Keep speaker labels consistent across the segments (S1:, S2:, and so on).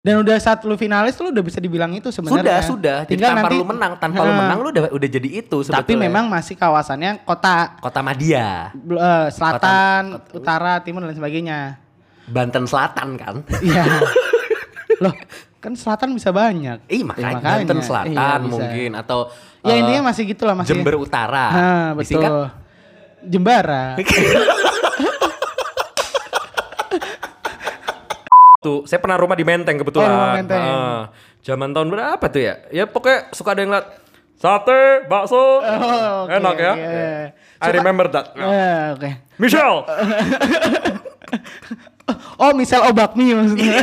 S1: Dan udah saat lu finalis lu udah bisa dibilang itu
S2: Sudah,
S1: sebenarnya.
S2: sudah. Jadi
S1: Tinggal
S2: tanpa
S1: nanti
S2: lu menang, tanpa lu
S1: Nah.
S2: menang lu udah udah jadi itu sebetulnya.
S1: tapi memang masih kawasannya kota
S2: Kota Madia,
S1: bl- eh, selatan,
S2: Kota- kota-
S1: utara, timur dan sebagainya.
S2: Banten Selatan kan.
S1: Iya. Loh, kan selatan bisa banyak. Ya,
S2: Ih, makanya, Banten Selatan
S1: Iya, bisa.
S2: mungkin atau
S1: Ya
S2: eh,
S1: intinya masih gitulah masih.
S2: Jember Utara. kan?
S1: Nah, betul.
S2: Disingkat
S1: Jembara.
S3: tuh saya pernah rumah di Menteng kebetulan.
S1: Oh, rumah Menteng.
S3: Heeh. zaman tahun berapa tuh ya? Ya pokoknya suka ada yang liat sate, bakso.
S1: Oh, oke,
S3: Enak ya.
S1: oke, iya.
S3: I remember that.
S1: Eh, oke.
S3: Michelle.
S1: Oh, misal obakmi maksudnya.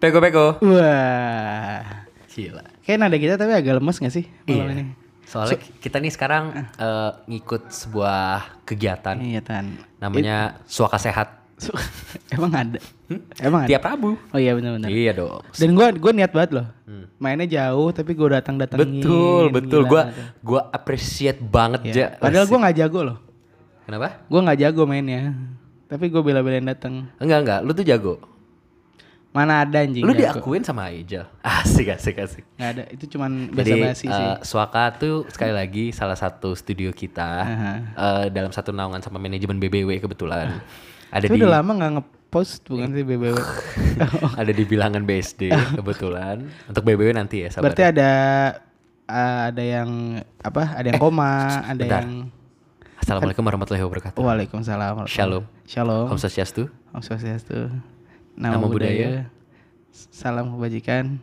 S3: Pego-pego.
S1: Wah.
S2: Gila.
S1: Kayak nada kita tapi agak lemes gak sih malam
S2: Iya.
S1: ini?
S2: Soalnya kita nih sekarang eh, ngikut sebuah kegiatan
S1: Ah. Iya Tan.
S2: namanya Suaka Sehat
S1: Su- Emang ada? Emang ada?
S2: Hmm? tiap Rabu.
S1: Oh iya benar-benar.
S2: Iya dong.
S1: Dan gue gue niat banget loh. Mainnya jauh tapi gue datang datangin.
S2: Betul, betul. Gua gua appreciate
S1: Ya.
S2: banget ja.
S1: Padahal gue nggak jago loh.
S2: Kenapa?
S1: Gue nggak jago mainnya. Tapi gue bela-belain datang.
S2: Enggak, enggak. Lu tuh jago.
S1: Mana ada anjing?
S2: Lu
S1: jago.
S2: diakuin sama Aijal. Asik, asik, asik.
S1: Nggak ada. Itu cuman
S2: Jadi
S1: basa-basi sih.
S2: eh, Suaka tuh sekali lagi salah satu studio kita
S1: Aha.
S2: eh, dalam satu naungan sama manajemen BBW kebetulan. Ada
S1: Tapi
S2: di
S1: udah lama nggak ngepost bukan sih BBW.
S2: ada di bilangan BSD kebetulan. Untuk BBW nanti ya sabar.
S1: Berarti ada eh, ada yang apa? Ada yang koma, ada
S2: bentar.
S1: yang
S2: Assalamualaikum warahmatullahi wabarakatuh.
S1: Waalaikumsalam.
S2: Shalom.
S1: Shalom.
S2: Om Swastiastu.
S1: Om Swastiastu. Nama,
S2: Nama
S1: budaya. Salam kebajikan.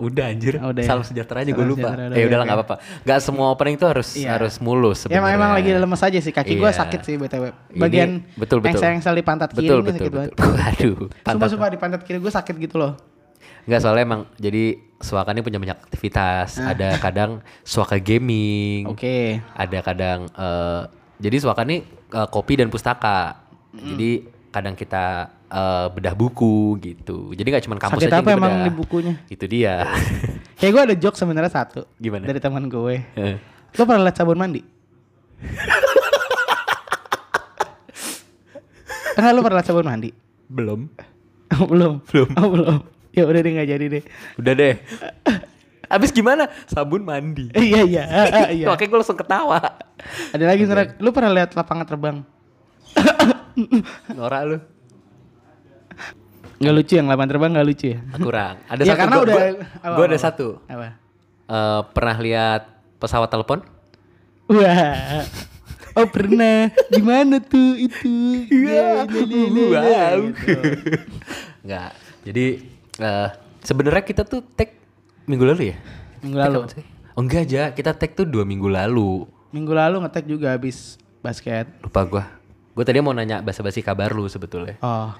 S2: Udah anjir.
S1: Oh, udah ya.
S2: Salam sejahtera aja gue
S1: Salam
S2: lupa.
S1: sejahtera, udah,
S2: Eh udahlah
S1: oke.
S2: nggak apa-apa. Nggak semua opening tuh harus
S1: Iya.
S2: harus mulus
S1: Ya emang,
S2: sebenarnya.
S1: emang lagi lemes aja sih kaki gua
S2: Iya.
S1: sakit sih BTW.
S2: Ini-
S1: Bagian
S2: betul, betul.
S1: engsel-engsel di pantat kiri
S2: Betul
S1: ini
S2: betul
S1: sakit
S2: betul.
S1: banget.
S2: Waduh.
S1: Sumpah
S2: Pantat.
S1: sumpah di pantat kiri gua sakit gitu loh.
S2: Nggak soalnya emang jadi Suaka ini punya banyak aktivitas. Ada kadang Suaka gaming.
S1: Ah. Oke.
S2: Ada kadang eh, jadi Suaka ini eh, kopi dan pustaka.
S1: Hmm.
S2: Jadi kadang kita eh, bedah buku gitu. Jadi nggak cuma kampus
S1: Sakit
S2: aja yang
S1: apa emang
S2: dibedah.
S1: di bukunya?
S2: Itu dia.
S1: Kayak gua ada joke sebenarnya satu.
S2: Gimana?
S1: Dari teman gue. Lo pernah liat sabun mandi? Enggak lo pernah liat sabun mandi?
S2: Belum.
S1: Oh, belum.
S2: Belum.
S1: Oh, belum. Ya udah deh nggak jadi deh.
S2: Udah deh. Abis gimana? Sabun mandi.
S1: Eh, Iya iya eh, eh, iya.
S2: Makanya gue langsung ketawa.
S1: Ada lagi Sarah. Lu pernah lihat lapangan terbang?
S2: Nora lu.
S1: Nggak lucu yang lapangan terbang nggak lucu ya?
S2: Kurang. Ada
S1: ya
S2: satu.
S1: karena
S2: gua-
S1: udah.
S2: gua-
S1: apa,
S2: gua
S1: apa,
S2: ada
S1: apa.
S2: satu.
S1: Apa?
S2: Eh, pernah lihat pesawat telepon?
S1: Wah. Oh pernah. Gimana tuh itu? Iya.
S2: Wow.
S1: gitu.
S2: Enggak. Jadi eh sebenarnya kita tuh tag minggu lalu ya?
S1: Minggu
S2: Tag
S1: lalu.
S2: kapan sih? Oh, enggak aja, kita tag tuh dua minggu lalu.
S1: Minggu lalu ngetek juga habis basket.
S2: Lupa gua. Gue tadi mau nanya basa-basi kabar lu sebetulnya.
S1: Oh.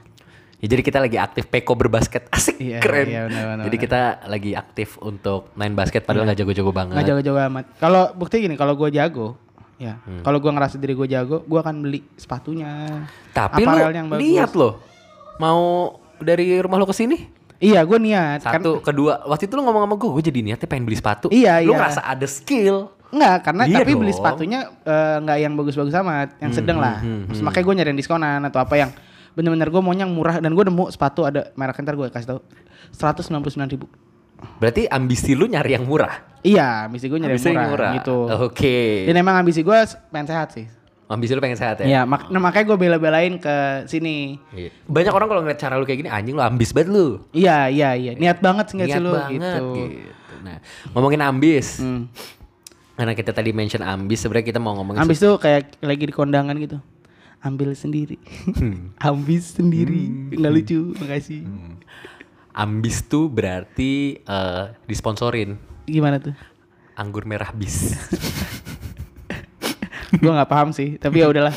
S2: Ya, jadi kita lagi aktif Peko berbasket. Asik,
S1: Iya,
S2: keren.
S1: iya, benar, benar, benar.
S2: jadi
S1: Iya.
S2: kita lagi aktif untuk main basket padahal nggak jago-jago banget.
S1: nggak jago-jago amat. Kalau bukti gini, kalau gue jago, ya.
S2: Hmm.
S1: Kalau gue ngerasa diri gue jago, gue akan beli sepatunya.
S2: Tapi lu
S1: aparel yang bagus.
S2: niat loh. Mau dari rumah lo ke sini?
S1: Iya, gue niat. Kan-
S2: Satu, kedua. Waktu itu lu ngomong sama gue, gue jadi niatnya pengen beli sepatu.
S1: Iya,
S2: Lu
S1: iya.
S2: ngerasa ada skill.
S1: Enggak, karena
S2: Iya
S1: tapi beli
S2: dong. Hmm,
S1: sepatunya eh, nggak yang bagus-bagus amat, yang sedang lah. Maksud- Makanya gue nyari yang diskonan atau apa yang bener-bener gue maunya yang murah dan gue nemu sepatu ada merek ntar gue kasih tahu 199 ribu.
S2: Berarti ambisi lu nyari yang murah.
S1: Iya, ambisi gue nyari yang
S2: Ambisi
S1: murah, gitu.
S2: Oke.
S1: Dan emang ambisi gue pengen sehat sih.
S2: Ambisi lu pengen sehat ya?
S1: Iya, mak- nah, makanya gue bela-belain ke sini.
S2: Iya. Banyak orang kalau ngeliat cara lu kayak gini, anjing lu ambis banget lu.
S1: Iya, iya, iya. Niat banget sih nggak sih
S2: Niat
S1: lu
S2: banget
S1: gitu.
S2: gitu. Nah, ngomongin ambis.
S1: Hmm.
S2: Karena kita tadi mention ambis, sebenarnya kita mau ngomongin
S1: Ambis tuh kayak lagi di kondangan gitu. Ambil sendiri.
S2: Hmm.
S1: Ambis sendiri. Nggak lucu, makasih.
S2: Ambis tuh berarti eh, disponsorin
S1: Gimana tuh?
S2: anggur merah bis.
S1: gue nggak paham sih, tapi ya udahlah.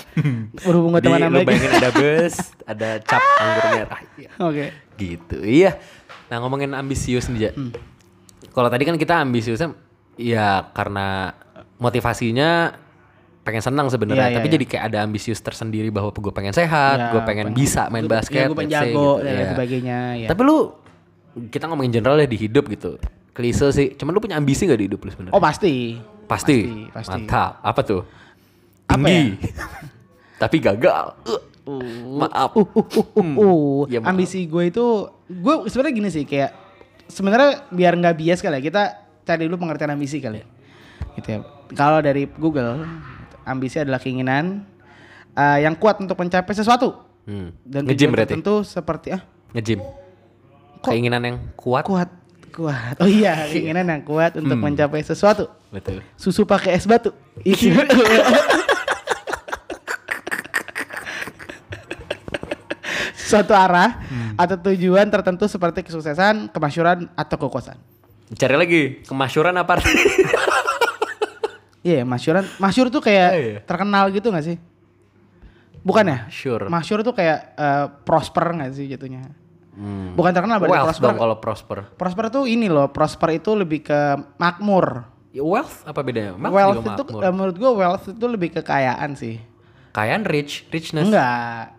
S1: Berhubung gue
S2: Di,
S1: teman
S2: lu
S1: lagi.
S2: bayangin ada bus, ada cap anggur merah. Iya.
S1: Oke.
S2: Gitu. Iya. Nah ngomongin ambisius nih, Ja.
S1: Hmm.
S2: Kalau tadi kan kita ambisiusnya ya karena motivasinya pengen senang
S1: Iya,
S2: sebenarnya,
S1: iya,
S2: tapi
S1: iya.
S2: jadi kayak ada ambisius tersendiri bahwa gue pengen sehat,
S1: Ya,
S2: gue
S1: pengen-
S2: pengen bisa main
S1: gua-
S2: basket,
S1: ya, gua pengen
S2: let's say
S1: jago,
S2: gitu.
S1: dan
S2: Iya.
S1: sebagainya, ya.
S2: Tapi lu kita ngomongin general ya di hidup gitu. Klise sih, cuman lu punya ambisi gak di hidup lu sebenarnya?
S1: Oh pasti.
S2: pasti,
S1: pasti, pasti.
S2: Mantap. Apa tuh?
S1: Apa ya?
S2: Tinggi. tapi gagal. Uh, Maaf.
S1: Uh, uh, uh, uh, uh.
S2: Ya, maaf.
S1: ambisi gue itu gue sebenarnya gini sih kayak sebenarnya biar nggak bias kali ya, kita cari dulu pengertian ambisi kali
S2: Iya.
S1: ya. gitu ya kalau dari Google ambisi adalah keinginan eh, yang kuat untuk mencapai sesuatu
S2: Hmm.
S1: dan tujuan
S2: Nge-gym berarti.
S1: tertentu seperti ah
S2: Nge-gym. Keinginan yang kuat.
S1: kuat kuat oh iya keinginan yang kuat untuk
S2: Hmm.
S1: mencapai sesuatu
S2: Betul.
S1: susu pakai es batu Isi- suatu arah
S2: Hmm.
S1: atau tujuan tertentu seperti kesuksesan, kemasyuran atau kekuasaan.
S2: Cari lagi kemasyuran apa?
S1: Iya, masyuran, masyur tuh kayak
S2: Oh, iya.
S1: terkenal gitu gak sih? Bukan ya?
S2: Masyhur.
S1: Masyur tuh kayak eh, prosper gak sih jatuhnya?
S2: Hmm.
S1: Bukan terkenal berarti
S2: Wealth
S1: prosper.
S2: dong kalau prosper.
S1: prosper tuh ini loh, prosper itu lebih ke makmur.
S2: Ya, Wealth apa bedanya? Makmur
S1: wealth
S2: juga
S1: itu
S2: makmur.
S1: eh, menurut gua wealth itu lebih kekayaan sih.
S2: Kayaan rich, richness.
S1: Enggak.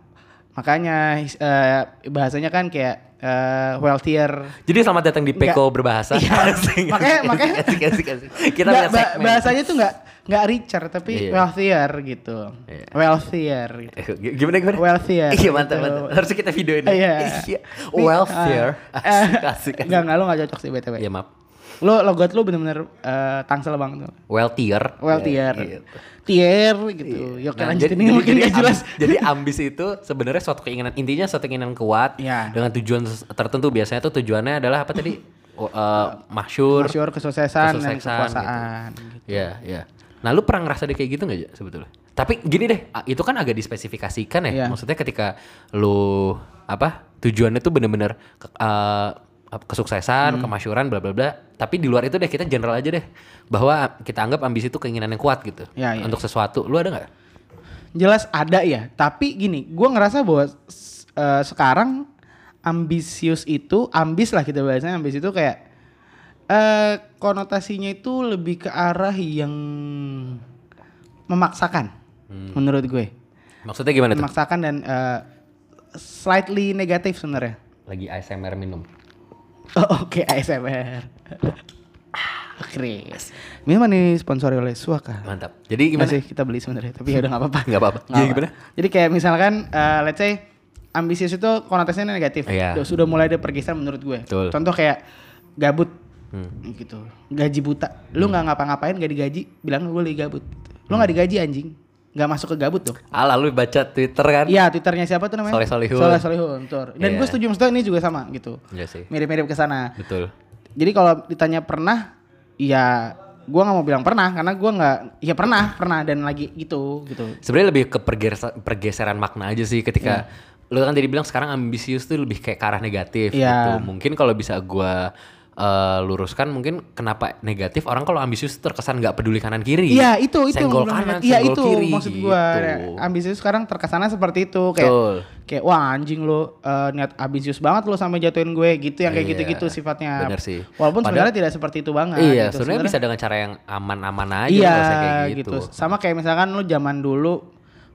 S1: Makanya his- eh, bahasanya kan kayak eh, wealthier.
S2: Jadi selamat datang di Peko berbahasa. Asik,
S1: Iya. Makanya-
S2: asik,
S1: makanya-
S2: asik, asik, asik. Kita
S1: Nggak,
S2: punya
S1: ba-
S2: segmen.
S1: bahasanya tuh enggak enggak richer tapi
S2: Iya.
S1: wealthier gitu.
S2: Iya.
S1: Wealthier gitu.
S2: Eh, Gimana gimana?
S1: Wealthier.
S2: Iya mantap
S1: Gitu.
S2: mantap. Harus kita video ini.
S1: Iya.
S2: Iya.
S1: Nih,
S2: Wealthier.
S1: ah,
S2: Asik
S1: eh,
S2: asik. asik.
S1: Enggak, enggak, lu enggak cocok sih BTW.
S2: Iya maaf.
S1: Lu logot lu bener-bener eh, tangsel banget tuh.
S2: Wealthier.
S1: Wealthier.
S2: Iya, iya.
S1: Tier gitu. Yuk
S2: Nah,
S1: lanjutin
S2: jadi-
S1: ini
S2: jadi-
S1: mungkin
S2: jadi
S1: gak jelas.
S2: ambis- jadi ambis itu sebenarnya suatu keinginan intinya suatu keinginan kuat
S1: Iya.
S2: dengan tujuan ses- tertentu biasanya tuh tujuannya adalah apa tadi? Oh, eh, mahsyur.
S1: Masyur kesuksesan, dan
S2: kesuksesan gitu.
S1: kekuasaan.
S2: Iya, iya. Nah, lu pernah ngerasa deh kayak gitu gak ya sebetulnya? Tapi gini deh, a- itu kan agak dispesifikasikan ya.
S1: Iya.
S2: Maksudnya ketika lu apa? Tujuannya tuh bener-bener ke- eh, ap-
S1: Hmm.
S2: kesuksesan, kemasyuran, bla bla bla. Tapi di luar itu deh kita general aja deh bahwa kita anggap ambisi itu keinginan yang kuat gitu
S1: Iya, iya.
S2: untuk sesuatu. Lu ada nggak?
S1: jelas ada ya tapi gini gua ngerasa bahwa s- eh, sekarang ambisius itu ambis lah kita bahasanya ambis itu kayak eh konotasinya itu lebih ke arah yang memaksakan menurut gue
S2: Maksudnya Hmm. gimana tuh?
S1: memaksakan dan eh, slightly negatif sebenarnya
S2: Lagi ASMR minum.
S1: Oh, Oke ASMR. Chris. Minuman ini sponsori oleh Suaka.
S2: Mantap. Jadi
S1: Gimana
S2: gimana?
S1: Iya sih kita beli sebenarnya, tapi ya udah nggak apa-apa.
S2: Nggak apa-apa.
S1: Nggak
S2: Jadi gimana?
S1: Jadi kayak misalkan eh, let's say ambisius itu konotasinya negatif.
S2: Iya.
S1: Udah- Sudah mulai ada pergeseran menurut gue.
S2: Betul.
S1: Contoh kayak gabut.
S2: Hmm.
S1: Gitu. Gaji buta. Lu nggak ngapa-ngapain gak digaji, bilang gue lagi gabut. Lu
S2: Hmm.
S1: nggak digaji anjing. nggak masuk ke gabut tuh.
S2: Ala lu baca Twitter kan?
S1: Iya, twitternya siapa tuh namanya?
S2: Soleh Solihun.
S1: Soleh Solihun, betul. Dan
S2: Iya.
S1: gue setuju maksudnya ini juga sama gitu.
S2: Iya sih.
S1: Mirip-mirip ke sana.
S2: Betul.
S1: Jadi kalau ditanya pernah, ya gua nggak mau bilang pernah karena gua nggak, ya pernah, pernah dan lagi gitu gitu.
S2: Sebenarnya lebih ke pergeser- pergeseran makna aja sih ketika lu kan tadi bilang sekarang ambisius tuh lebih kayak ke arah negatif
S1: Iya.
S2: gitu. Mungkin kalau bisa gua eh, luruskan mungkin kenapa negatif orang kalau ambisius tuh terkesan nggak peduli kanan kiri.
S1: Iya itu itu. yang
S2: Senggol
S1: gua bilang.
S2: kanan,
S1: Iya
S2: senggol
S1: itu
S2: kiri.
S1: maksud gua.
S2: gitu.
S1: Ambisius sekarang terkesana seperti itu kayak
S2: Betul.
S1: kayak wah anjing lo niat ambisius banget lo sampai jatuhin gue gitu yang kayak
S2: Iya,
S1: gitu-gitu sifatnya.
S2: bener sih.
S1: Walaupun
S2: Padahal-
S1: sebenarnya tidak seperti itu banget.
S2: iya,
S1: gitu.
S2: sebenarnya bisa dengan cara yang aman-aman aja
S1: Iya
S2: nggak usah kayak
S1: gitu.
S2: gitu.
S1: Sama kayak misalkan lu zaman dulu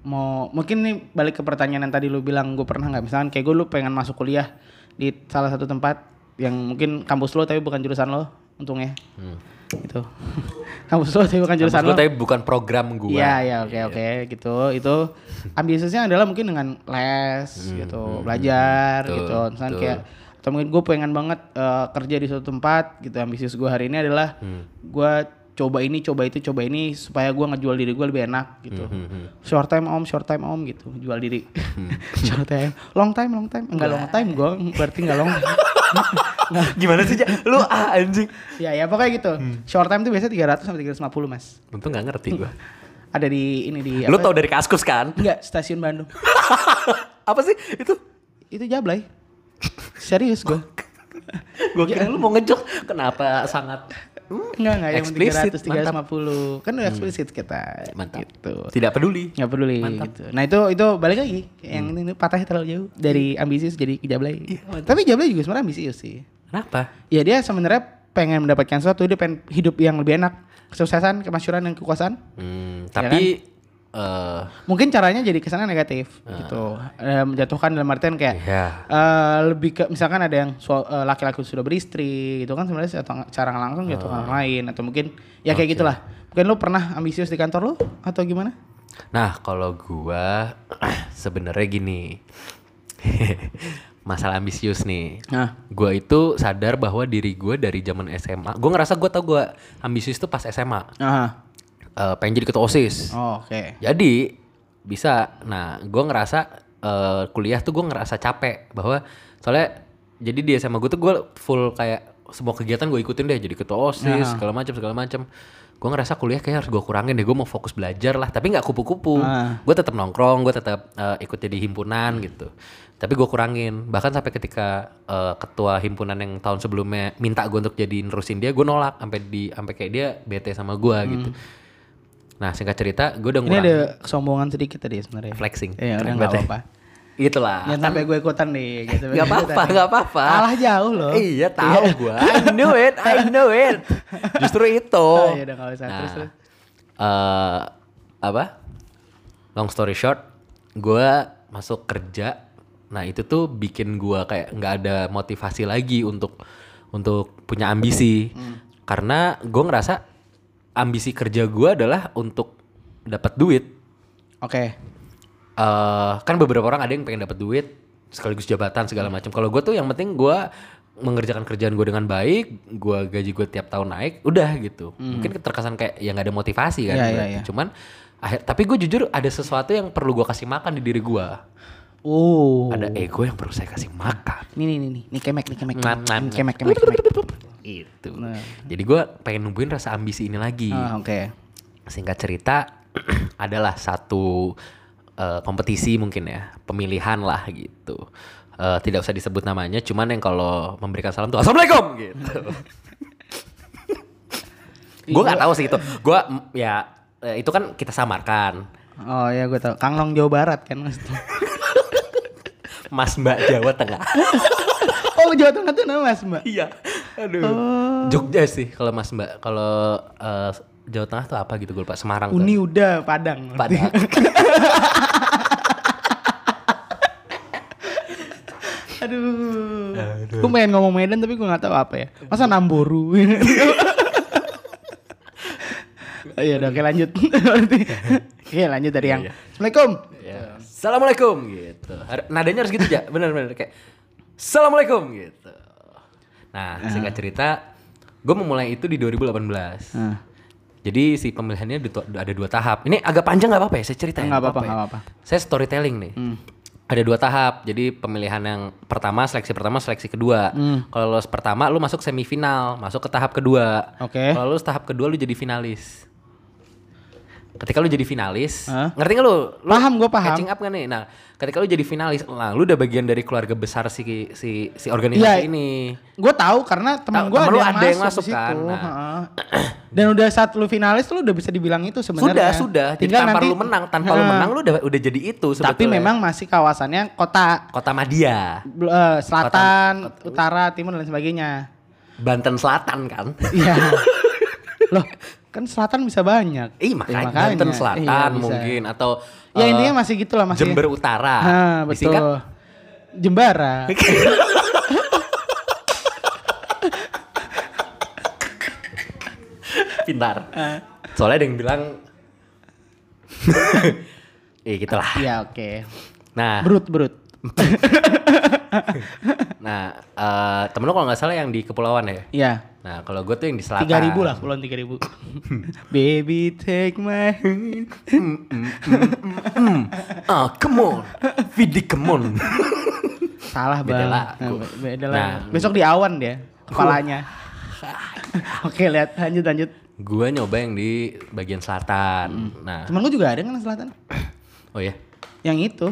S1: mau mungkin nih balik ke pertanyaan yang tadi lu bilang gue pernah nggak misalkan kayak gue lu pengen masuk kuliah di salah satu tempat yang mungkin kampus lo tapi bukan jurusan lo untungnya
S2: Hmm.
S1: gitu kampus lo tapi bukan
S2: Maksud
S1: jurusan
S2: gua
S1: lo
S2: tapi bukan program gua.
S1: Iya, iya, oke, oke, gitu. Itu ambisiusnya adalah mungkin dengan les, gitu, belajar,
S2: Hmm, betul,
S1: gitu. Misalnya
S2: betul.
S1: kayak atau mungkin gue pengen banget eh, kerja di suatu tempat, gitu. Ambisius gue hari ini adalah
S2: Hmm.
S1: gue coba ini, coba itu, coba ini supaya gue ngejual diri gue lebih enak, gitu.
S2: Hmm,
S1: Short time om, short time om, gitu. Jual diri, short time, long time, long time, enggak long time gue, berarti enggak long.
S2: Gimana sih, Ja? Lu ah anjing.
S1: ya, ya pokoknya gitu.
S2: Hmm.
S1: Short time tuh biasanya 300 sampai 350 mas.
S2: Untung nggak ngerti gua.
S1: Ada di ini di
S2: Lu tau dari Kaskus kan?
S1: Enggak, stasiun Bandung.
S2: apa sih itu?
S1: itu jablay serius gue
S2: Gua kira lu mau ngejok. Kenapa sangat hmm,
S1: enggak enggak yang
S2: Eksplisit,
S1: 300 350 kan udah eksplisit kita
S2: Mantap.
S1: gitu
S2: Tidak peduli.
S1: nggak peduli gitu nah itu itu balik
S2: Hmm. Iya.
S1: lagi yang ini, ini patahnya terlalu jauh dari ambisius jadi ke jablay tapi jablay juga sebenarnya ambisius sih
S2: Kenapa?
S1: ya dia sebenarnya pengen mendapatkan sesuatu dia pengen hidup yang lebih enak kesuksesan kemasyuran dan kekuasaan
S2: Hmm, tapi eh,
S1: mungkin caranya jadi kesana negatif
S2: Ah.
S1: gitu Eh, menjatuhkan dalam artian kayak
S2: Iya.
S1: eh, lebih ke misalkan ada yang sua- eh, laki-laki sudah beristri gitu kan sebenarnya satu- cara nggak langsung jatuh
S2: Ah.
S1: orang lain atau mungkin ya kayak gitulah mungkin lo pernah ambisius di kantor lo atau gimana
S2: nah kalau gua sebenarnya gini. Masalah ambisius nih.
S1: nah
S2: Gua itu sadar bahwa diri gua dari zaman SMA, gua ngerasa gua tau gua ambisius tuh pas SMA.
S1: Aha.
S2: Eh, pengen jadi ketua OSIS.
S1: Oh, oke
S2: Jadi bisa. Nah, gue ngerasa eh, kuliah tuh gue ngerasa capek bahwa soalnya jadi dia sama gue tuh gue full kayak semua kegiatan gue ikutin deh jadi ketua osis segala macam segala macam. Gue ngerasa kuliah kayak harus gue kurangin deh. Gue mau fokus belajar lah. Tapi nggak kupu-kupu.
S1: Ah.
S2: Gue tetap nongkrong. Gue tetap eh, ikut jadi himpunan gitu. Tapi gue kurangin. Bahkan sampai ketika eh, ketua himpunan yang tahun sebelumnya minta gue untuk jadi nerusin dia, gue nolak sampai di sampai kayak dia bete sama gue gitu. Nah singkat cerita, gue udah
S1: Hmm. ini
S2: ngurangin
S1: ada kesombongan sedikit tadi sebenarnya
S2: flexing.
S1: Iya, udah
S2: Keren
S1: nggak
S2: banget ya.
S1: apa-apa.
S2: Itulah.
S1: Jangan sampai gue ikutan nih. Gitu.
S2: Gak apa-apa, gak apa-apa.
S1: Kalah jauh loh.
S2: Iya, tahu gua. I knew it, I knew it. Justru itu. Nah,
S1: Oh, iya udah nggak usah. Terus, terus.
S2: eh, apa? Long story short, gua masuk kerja. Nah, itu tuh bikin gua kayak nggak ada motivasi lagi untuk untuk punya ambisi.
S1: Hmm.
S2: Karena gua ngerasa ambisi kerja gua adalah untuk dapat duit.
S1: Oke.
S2: eh kan beberapa orang ada yang pengen dapat duit sekaligus jabatan segala macam. Kalau gue tuh yang penting gue mengerjakan kerjaan gue dengan baik, gue gaji gue tiap tahun naik, udah gitu. Mungkin terkesan kayak ya nggak ada motivasi
S1: Hmm.
S2: kan.
S1: Iya, iya,
S2: berarti.
S1: iya.
S2: Cuman akhir, tapi gue jujur ada sesuatu yang perlu gue kasih makan di diri gue.
S1: Oh.
S2: Ada E. ego yang perlu saya kasih makan.
S1: Nih nih nih nih. Nih kemek nih kemek.
S2: Ngam, ngam,
S1: Nih Hmm, kemek kemek kemek. Nah.
S2: Itu. Jadi gue pengen numbuhin rasa ambisi ini lagi.
S1: Ah, Oke.
S2: Singkat cerita adalah satu eh, kompetisi mungkin ya, pemilihan lah gitu. Eh, tidak usah disebut namanya, cuman yang kalau memberikan salam tuh assalamualaikum gitu. gue nggak tahu sih itu. Gue ya eh, itu kan kita samarkan.
S1: Oh ya gue tau. Kanglong Jawa Barat kan maksudnya.
S2: Mas Mbak Jawa Tengah.
S1: oh Jawa Tengah tuh nama mas mbak.
S2: iya. Aduh. Jogja sih kalau Mas Mbak. Kalau eh, Jawa Tengah tuh apa gitu gue lupa. Semarang. tuh.
S1: Uni udah Padang.
S2: Padahal.
S1: Aduh. Gue pengen ngomong Medan tapi gue nggak tahu apa ya. Masa Namboru. Oh, Iya udah oke lanjut. oke lanjut dari yang. Assalamualaikum.
S2: Ya. Assalamualaikum gitu. Har- Nadanya harus gitu aja, benar-benar kayak Assalamualaikum gitu. Nah,
S1: Ah.
S2: singkat cerita, gue memulai itu di 2018.
S1: Ah.
S2: Jadi si pemilihannya ditu- ada dua tahap. Ini agak panjang nggak apa-apa ya? Saya ceritain.
S1: Nggak apa-apa,
S2: ya.
S1: nggak apa-apa. Hmm.
S2: Saya storytelling nih. Ada dua tahap. Jadi pemilihan yang pertama, seleksi pertama, seleksi kedua.
S1: Hmm.
S2: Kalau lolos pertama, lu masuk semifinal, masuk ke tahap kedua.
S1: Oke.
S2: Kalau lulus tahap kedua, lu jadi finalis. Ketika lu jadi finalis,
S1: Hah?
S2: ngerti nggak lu? Lu
S1: Paham, gua paham.
S2: Catching up kan nih. Nah, ketika lu jadi finalis, nah, lu udah bagian dari keluarga besar si si si
S1: Iya.
S2: organisasi ini.
S1: Gue tahu karena teman
S2: Tahu,
S1: gue
S2: temen
S1: ada,
S2: lu
S1: yang
S2: ada yang
S1: masuk,
S2: masuk
S1: di situ.
S2: kan, nah.
S1: Heeh. Dan udah saat lu finalis lu udah bisa dibilang itu
S2: Sudah,
S1: sebenarnya.
S2: sudah. Jadi tanpa lu menang, tanpa lu
S1: Heeh.
S2: menang lu udah udah jadi itu sebetulnya.
S1: Tapi memang masih kawasannya kota
S2: Kota Madia,
S1: bel- eh, selatan, utara, timur dan lain sebagainya.
S2: Banten Selatan kan.
S1: Iya. Loh, kan selatan bisa banyak. Ya,
S2: Ih, makanya, Banten Selatan
S1: Iya, bisa.
S2: mungkin atau
S1: Ya
S2: eh,
S1: intinya masih gitulah masih.
S2: Jember Utara. kan?
S1: Nah, betul.
S2: Disingkat
S1: Jembara.
S2: pintar. Soalnya ada yang bilang Iya gitu lah.
S1: Iya, oke.
S2: Nah,
S1: Brut, brut.
S2: nah eh temen lu kalau nggak salah yang di kepulauan ya.
S1: Iya.
S2: Nah, kalau gue tuh yang di selatan.
S1: tiga ribu lah puluhan tiga ribu baby take my hand
S2: Ah, come on. Vidi come on.
S1: salah
S2: Beda
S1: bang
S2: lagu.
S1: Nah, be- beda
S2: Nah.
S1: lagu. besok di awan dia kepalanya oke lihat lanjut lanjut
S2: gue nyoba yang di bagian
S1: Hmm.
S2: selatan. Nah,
S1: temen gue juga ada kan yang selatan
S2: oh ya.
S1: yang itu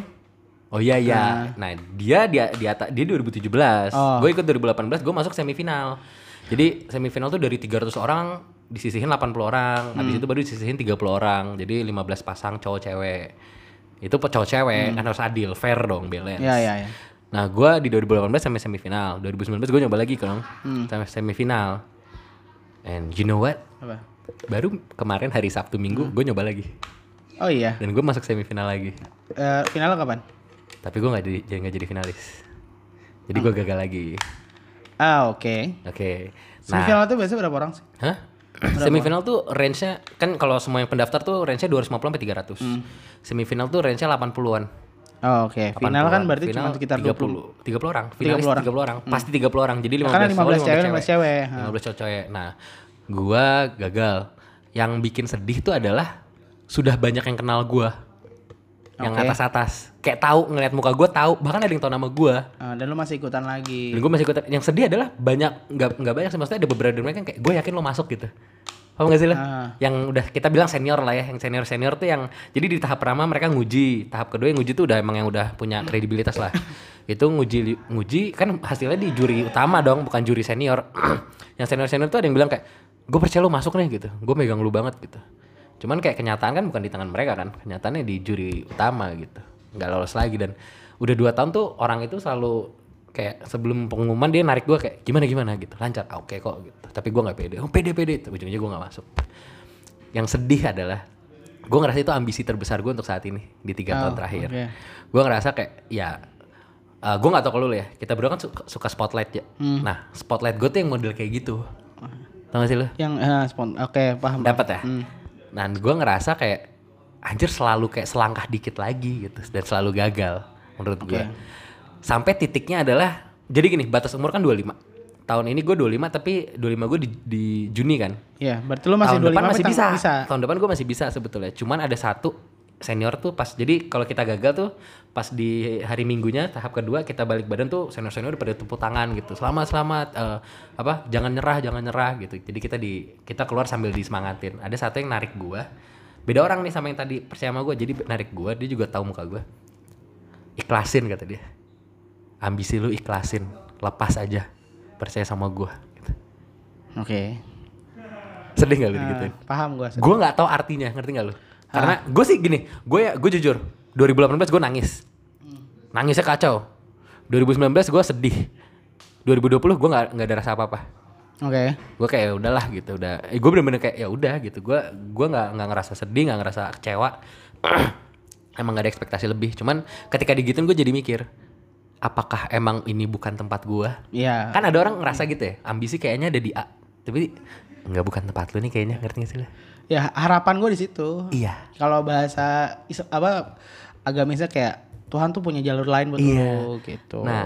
S2: Oh iya iya. Nah, dia dia di atas dia 2017.
S1: Oh.
S2: Gue ikut 2018, gue masuk semifinal. Jadi semifinal tuh dari 300 orang disisihin 80
S1: Hmm.
S2: orang, habis itu baru disisihin 30 orang. Jadi
S1: Hmm.
S2: 15 pasang cowok cewek. Itu pe- cowok cewek kan harus adil, fair dong, balance.
S1: ya ya ya
S2: Nah, gua di 2018 sampai semifinal. 2019 gua nyoba lagi kan,
S1: Hmm.
S2: sampai semifinal. And you know what?
S1: Apa?
S2: Baru kemarin hari Sabtu
S1: Hmm.
S2: Minggu gua nyoba lagi
S1: Oh iya.
S2: dan gua masuk semifinal lagi.
S1: Eh, finalnya kapan?
S2: Tapi gua nggak jadi jadi- nggak jadi finalis. Jadi
S1: Hmm.
S2: gua gagal lagi.
S1: Ah oke.
S2: Oke. Nah,
S1: Semifinal itu biasanya berapa orang sih?
S2: Hah? Semifinal tuh range-nya kan kalau semua yang pendaftar tuh range-nya 250 sampai 300.
S1: Hmm.
S2: Semifinal tuh range-nya 80-an.
S1: Oh, oke. Final kan
S2: 80-an.
S1: berarti
S2: Final
S1: cuma sekitar 20.
S2: 30 30 orang. Finalis
S1: 30
S2: 30 orang.
S1: orang. Hmm.
S2: Pasti 30 orang. Jadi 15
S1: karena 15 cewek, 15 cewek.
S2: 15 cowok cewek. Nah, gua gagal. Yang bikin sedih tuh adalah sudah banyak yang kenal gua. Yang
S1: Oke.
S2: atas-atas. Kayak tahu ngeliat muka gua tahu, bahkan ada yang tahu nama gua.
S1: Ah, dan lu masih ikutan lagi.
S2: Dan gue masih ikutan. Yang sedih adalah banyak nggak nggak banyak sih maksudnya ada beberapa dari mereka yang kayak gue yakin lo masuk gitu. Paham gak sih lo?
S1: Ah.
S2: Yang udah kita bilang senior lah ya, yang senior senior tuh yang jadi di tahap pertama mereka nguji, tahap kedua yang nguji tuh udah emang yang udah punya kredibilitas lah. Itu nguji nguji kan hasilnya di juri utama dong, bukan juri senior. yang senior senior tuh ada yang bilang kayak gue percaya lo masuk nih gitu, gue megang lu banget gitu. Cuman kayak kenyataan kan bukan di tangan mereka kan, kenyataannya di juri utama gitu, nggak lolos lagi dan udah dua tahun tuh orang itu selalu kayak sebelum pengumuman dia narik gue kayak gimana gimana gitu lancar "Ah, oke kok gitu tapi gue nggak pede oh pede pede tapi ujungnya gue nggak masuk yang sedih adalah gue ngerasa itu ambisi terbesar gue untuk saat ini di
S1: Oh,
S2: tiga tahun terakhir
S1: oke.
S2: gue ngerasa kayak ya eh, gue nggak tau kalau lu ya kita berdua kan suka, suka spotlight ya
S1: Hmm.
S2: nah spotlight gue tuh yang model kayak gitu tau gak sih lu
S1: Yang eh, spon oke paham.
S2: dapat ya
S1: Hmm.
S2: nah gue ngerasa kayak anjir selalu kayak selangkah dikit lagi gitu dan selalu gagal menurut gue
S1: Oke.
S2: sampai titiknya adalah jadi gini batas umur kan 25 tahun ini gue 25 tapi 25 gue di, di Juni kan
S1: Iya, berarti lu masih
S2: tahun
S1: 25
S2: depan masih
S1: tapi
S2: bisa.
S1: tang-
S2: tahun depan gue masih bisa sebetulnya cuman ada satu senior tuh pas jadi kalau kita gagal tuh pas di hari minggunya tahap kedua kita balik badan tuh senior senior udah pada tepuk tangan gitu selamat selamat eh, apa jangan nyerah jangan nyerah gitu jadi kita di kita keluar sambil disemangatin ada satu yang narik gue beda orang nih sama yang tadi percaya sama gue jadi narik gue dia juga tahu muka gue ikhlasin kata dia ambisi lu ikhlasin lepas aja percaya sama gue gitu.
S1: Oke.
S2: sedih gak lu
S1: Nah,
S2: gitu
S1: paham gua.
S2: gue nggak tahu artinya ngerti nggak lu karena gue sih gini gue ya gue jujur 2018 gue nangis nangisnya kacau 2019 gue sedih 2020 gue nggak nggak ada rasa apa apa
S1: Oke.
S2: gue kayak "Ya udahlah gitu udah eh, gue bener-bener kayak ya udah gitu gue gue nggak nggak ngerasa sedih nggak ngerasa kecewa emang gak ada ekspektasi lebih cuman ketika digituin gue jadi mikir apakah emang ini bukan tempat gue
S1: Iya.
S2: kan ada orang ngerasa gitu ya ambisi kayaknya ada di A tapi nggak bukan tempat lu nih kayaknya ngerti gak sih lu
S1: Ya, harapan gua di situ.
S2: iya
S1: Kalau bahasa is- apa agamisnya kayak Tuhan tuh punya jalur lain buat lu gitu.
S2: Iya. Nah,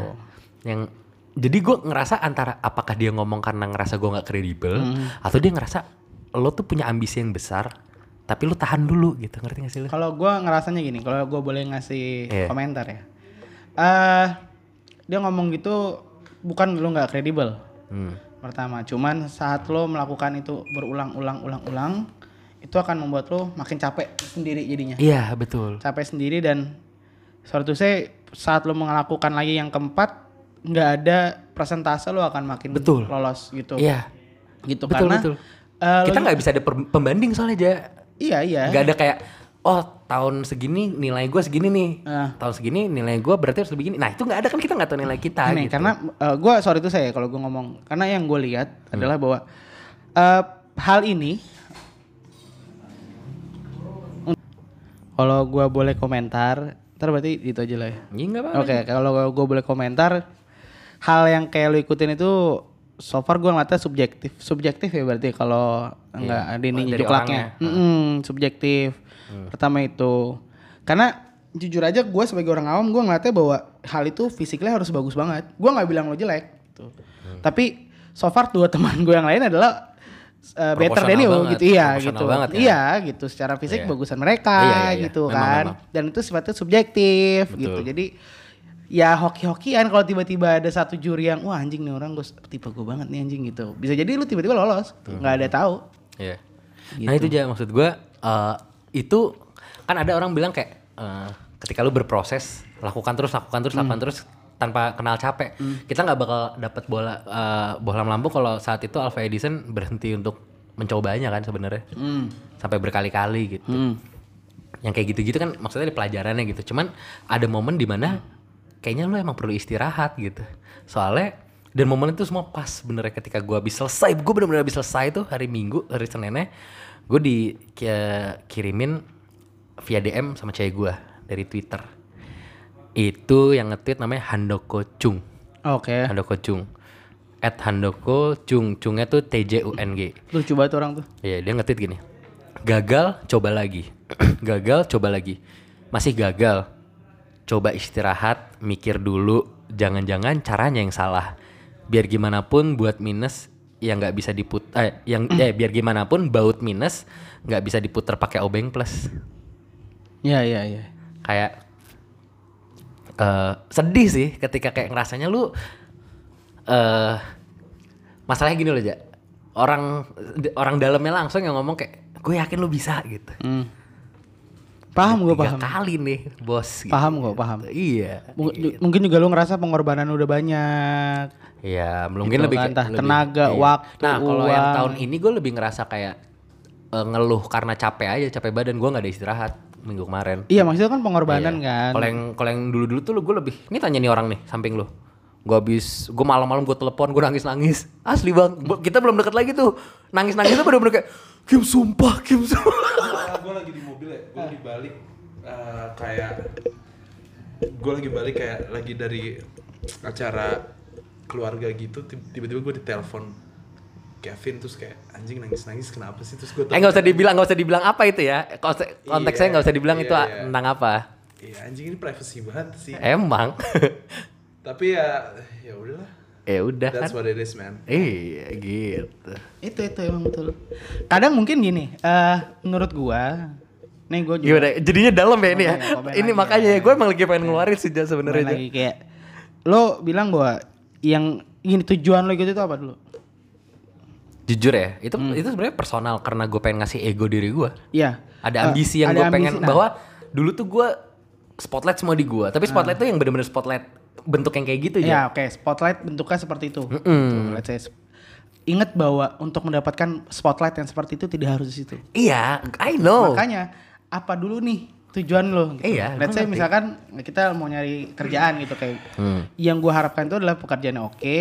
S2: yang jadi gue ngerasa antara apakah dia ngomong karena ngerasa gue nggak kredibel
S1: Hmm.
S2: atau dia ngerasa lo tuh punya ambisi yang besar tapi lo tahan dulu gitu ngerti gak sih lo?
S1: Kalau gua ngerasanya gini, kalau gua boleh ngasih
S2: Iya.
S1: komentar ya. Eh dia ngomong gitu bukan lu nggak kredibel.
S2: Hmm.
S1: Pertama, cuman saat lo melakukan itu berulang-ulang-ulang-ulang, itu akan membuat lo makin capek sendiri jadinya.
S2: Iya betul.
S1: Capek sendiri dan suatu saya saat lo melakukan lagi yang keempat, nggak ada persentase lo akan makin
S2: Betul.
S1: lolos gitu.
S2: Iya
S1: Gitu
S2: betul
S1: karena
S2: betul.
S1: eh, lo-
S2: Kita nggak bisa ada per- pembanding soalnya aja.
S1: iya iya.
S2: Nggak ada kayak oh tahun segini nilai gue segini nih.
S1: Ah.
S2: Tahun segini nilai gue berarti harus begini. Nah itu nggak ada kan kita nggak tahu nilai kita.
S1: Aneh,
S2: gitu.
S1: karena gue sorry itu saya kalau gue ngomong karena yang gue lihat adalah bahwa eh, hal ini kalau gue boleh komentar ntar berarti itu aja lah ya
S2: Iya, nggak apa-apa.
S1: oke kalau gue boleh komentar hal yang kayak lu ikutin itu so far gue ngeliatnya subjektif subjektif ya berarti kalau nggak ada ini
S2: Iya, dari Hmm.
S1: juklaknya Mm-mm, subjektif pertama itu karena jujur aja gue sebagai orang awam gue ngeliatnya bahwa hal itu fisiknya harus bagus banget gue nggak bilang lo jelek gitu.
S2: Hmm.
S1: tapi so far dua teman gue yang lain adalah uh, better than you
S2: Proporsional banget,
S1: gitu iya
S2: proporsional
S1: gitu
S2: banget ya.
S1: iya gitu secara fisik
S2: Iya.
S1: bagusan mereka
S2: Iya, iya, iya.
S1: gitu
S2: Memang,
S1: kan
S2: memang.
S1: dan itu sifatnya subjektif gitu jadi ya hoki-hokian kalau tiba-tiba ada satu juri yang wah anjing nih orang gue tipe gue banget nih anjing gitu bisa jadi lu tiba-tiba lolos gitu. nggak ada tahu
S2: Iya. Nah itu aja maksud gue eh, itu kan ada orang bilang kayak eh, ketika lu berproses lakukan terus lakukan terus lakukan terus tanpa kenal capek kita nggak bakal dapat bola eh, bola melambung kalau saat itu Alpha Edison berhenti untuk mencobanya kan sebenarnya sampai berkali-kali gitu yang kayak gitu-gitu kan maksudnya ada pelajarannya gitu cuman ada momen dimana kayaknya lu emang perlu istirahat gitu. Soalnya dan momen itu semua pas bener ketika gua habis selesai, gua bener-bener habis selesai tuh hari Minggu, hari Seninnya gua dikirimin via DM sama cewek gua dari Twitter. Itu yang nge-tweet namanya Handoko Chung.
S1: Oke.
S2: Handoko Chung. At Handoko Chung, Chungnya tuh T J U N G.
S1: Lucu banget orang tuh.
S2: Iya dia nge-tweet gini Gagal coba lagi Gagal coba lagi Masih gagal Coba istirahat Mikir dulu Jangan-jangan caranya yang salah Biar gimana pun buat minus Yang nggak bisa diput eh, yang, eh, Biar gimana pun baut minus nggak bisa diputer pakai obeng plus
S1: Iya, iya, iya.
S2: Kayak eh, Sedih sih ketika kayak ngerasanya lu eh Masalahnya gini loh Ja Orang orang dalamnya langsung yang ngomong kayak Gue yakin lu bisa gitu
S1: Hmm. Paham gue
S2: tiga
S1: paham.
S2: kali nih bos gitu.
S1: Paham gue paham.
S2: iya
S1: Mung- Mungkin juga lu ngerasa pengorbanan udah banyak.
S2: ya mungkin
S1: Gitu
S2: lebih
S1: kan,
S2: ke-
S1: entah
S2: lebih-
S1: tenaga, waktu,
S2: nah kalau yang
S1: uang.
S2: tahun ini gue lebih ngerasa kayak eh, ngeluh karena capek aja capek badan gue nggak ada istirahat minggu kemarin
S1: Iya maksudnya kan pengorbanan
S2: Iya.
S1: kan.
S2: kalau yang kalau yang dulu dulu tuh gue lebih ini tanya nih orang nih samping lu gue habis gue malam-malam gue telepon gue nangis nangis asli bang Gua- kita belum deket lagi tuh nangis nangis tuh bener-bener kayak Kim sumpah Kim sumpah
S4: gue lagi di mobil ya gue di balik eh, kayak gue lagi balik kayak lagi dari acara keluarga gitu tib- tiba-tiba gue ditelepon Kevin terus kayak anjing nangis-nangis kenapa sih terus gue
S2: eh nggak usah dibilang nggak usah dibilang apa itu ya Konse- konteksnya
S4: Iya,
S2: nggak usah dibilang
S4: iya,
S2: itu ah,
S4: iya.
S2: tentang apa
S4: iya anjing ini privacy banget sih
S2: emang
S4: tapi ya ya udahlah
S2: ya udah kan
S4: that's what it is man
S2: Iya gitu.
S1: Itu itu emang betul. Kadang mungkin gini, eh menurut gua, nih gue juga
S2: Gimana? Jadinya dalam ya ini ya.
S1: Komen ya, komen
S2: Ini
S1: lagi
S2: makanya
S1: ya.
S2: ya gue emang lagi pengen ngeluarin sih Ja, sebenarnya.
S1: kemarin
S2: Ja.
S1: lagi kayak lo bilang bahwa yang gini tujuan lo gitu itu apa dulu?
S2: Jujur ya, itu
S1: Hmm.
S2: itu sebenarnya personal karena gue pengen ngasih ego diri gue.
S1: Iya. Eh,
S2: Ada ambisi yang
S1: ada
S2: gue
S1: ambisi,
S2: pengen
S1: nah.
S2: bahwa dulu tuh gue spotlight semua di gue, tapi spotlight tuh yang bener-bener spotlight bentuk yang kayak gitu
S1: Ah. Iya,
S2: ya.
S1: oke. Spotlight bentuknya seperti itu. Tuh, let's say sp- Ingat bahwa untuk mendapatkan spotlight yang seperti itu tidak harus di situ.
S2: Iya, I know.
S1: Makanya apa dulu nih tujuan lo? Gitu.
S2: Iya,
S1: Let's say
S2: gua ngerti. Hmm.
S1: misalkan kita mau nyari kerjaan gitu kayak yang gua harapkan itu adalah pekerjaan yang oke,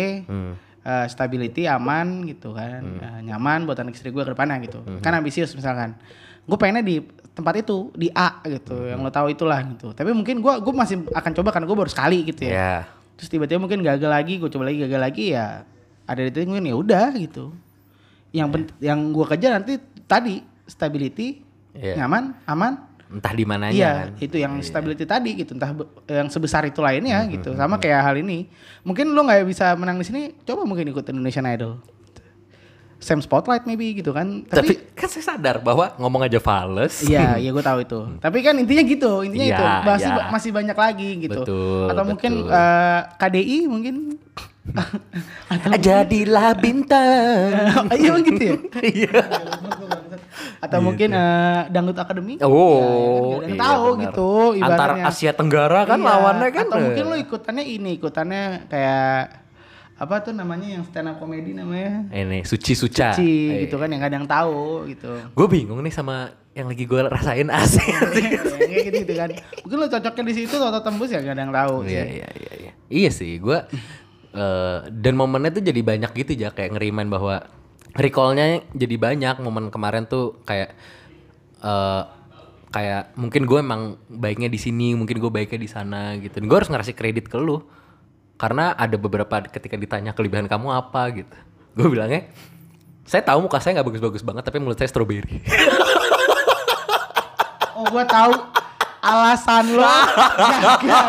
S1: eh, stability, aman gitu kan,
S2: Hmm.
S1: eh, nyaman buat anak istri gua ke depannya gitu. Kan ambisius misalkan. Gue pengennya di tempat itu di A gitu,
S2: Hmm.
S1: yang lo tahu itulah gitu. Tapi mungkin gua gua masih akan coba karena gue baru sekali gitu ya.
S2: Iya.
S1: Terus tiba-tiba mungkin gagal lagi, gue coba lagi gagal lagi ya ada di titik mungkin ya udah gitu. Yang pen- yang gua kejar nanti tadi stability,
S2: Iya.
S1: nyaman, aman.
S2: Entah di mananya
S1: Iya,
S2: kan.
S1: itu yang stability tadi gitu, entah be- yang sebesar itu lainnya
S2: Hmm,
S1: gitu. Sama kayak hal ini. Mungkin lo nggak bisa menang di sini, coba mungkin ikut Indonesian Idol. Same spotlight maybe gitu kan.
S2: Tapi,
S1: Tapi
S2: kan saya sadar bahwa ngomong aja fales.
S1: Iya, iya gue tahu itu. Tapi kan intinya gitu, intinya
S2: Hmm. Iya,
S1: itu. Masih
S2: iya.
S1: masih banyak lagi gitu.
S2: Betul,
S1: Atau mungkin
S2: betul.
S1: eh, KDI mungkin atau
S2: ah, Jadilah bintang.
S1: Oh, iya emang gitu ya?
S2: Iya.
S1: Atau mungkin eh, Dangdut Academy?
S2: Oh,
S1: ya, kan? Nggak ada yang
S2: iya,
S1: tahu
S2: benar.
S1: gitu
S2: Antar
S1: ibaratnya.
S2: Asia Tenggara kan
S1: Iya,
S2: lawannya kan.
S1: Atau mungkin lo ikutannya ini, ikutannya kayak apa tuh namanya yang stand up comedy namanya?
S2: ini Suci Suca.
S1: Ci gitu
S2: iya.
S1: kan yang gak ada yang tahu gitu.
S2: Gue bingung nih sama yang lagi gue rasain asik.
S1: Kayak gitu, gitu kan. Mungkin lo cocoknya di situ atau tembus ya gak ada yang tahu.
S2: Iya iya iya iya. Iya sih, gue eh, dan momennya tuh jadi banyak gitu ya kayak ngeriman bahwa recallnya jadi banyak momen kemarin tuh kayak eh kayak mungkin gue emang baiknya di sini, mungkin gue baiknya di sana gitu. Gue harus ngasih kredit ke lu karena ada beberapa ketika ditanya kelebihan kamu apa gitu. Gue bilangnya saya tahu muka saya nggak bagus-bagus banget tapi mulut saya strawberry.
S1: Oh gua tahu alasan lo gagal.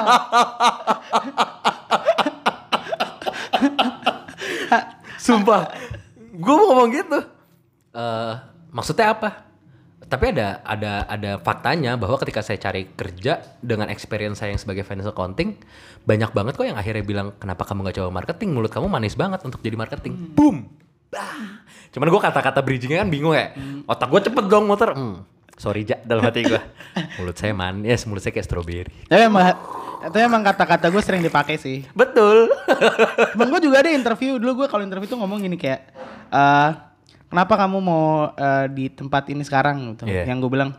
S2: Sumpah, gue mau ngomong gitu. Eh, maksudnya apa? Tapi ada ada ada faktanya bahwa ketika saya cari kerja dengan experience saya yang sebagai financial accounting, banyak banget kok yang akhirnya bilang kenapa kamu nggak coba marketing? Mulut kamu manis banget untuk jadi marketing. Hmm. Boom. Bah. Cuman gue kata-kata bridgingnya kan bingung ya. Otak gue cepet dong muter. Hmm. Sorry ja, dalam hati gue. mulut saya manis, mulut saya kayak strawberry.
S1: Tapi emang, itu emang kata-kata gue sering dipakai sih.
S2: Betul.
S1: Temen gue juga ada interview dulu gue kalau interview tuh ngomong gini kayak eh kenapa kamu mau eh, di tempat ini sekarang gitu.
S2: Iya. Hmm.
S1: Yang gue bilang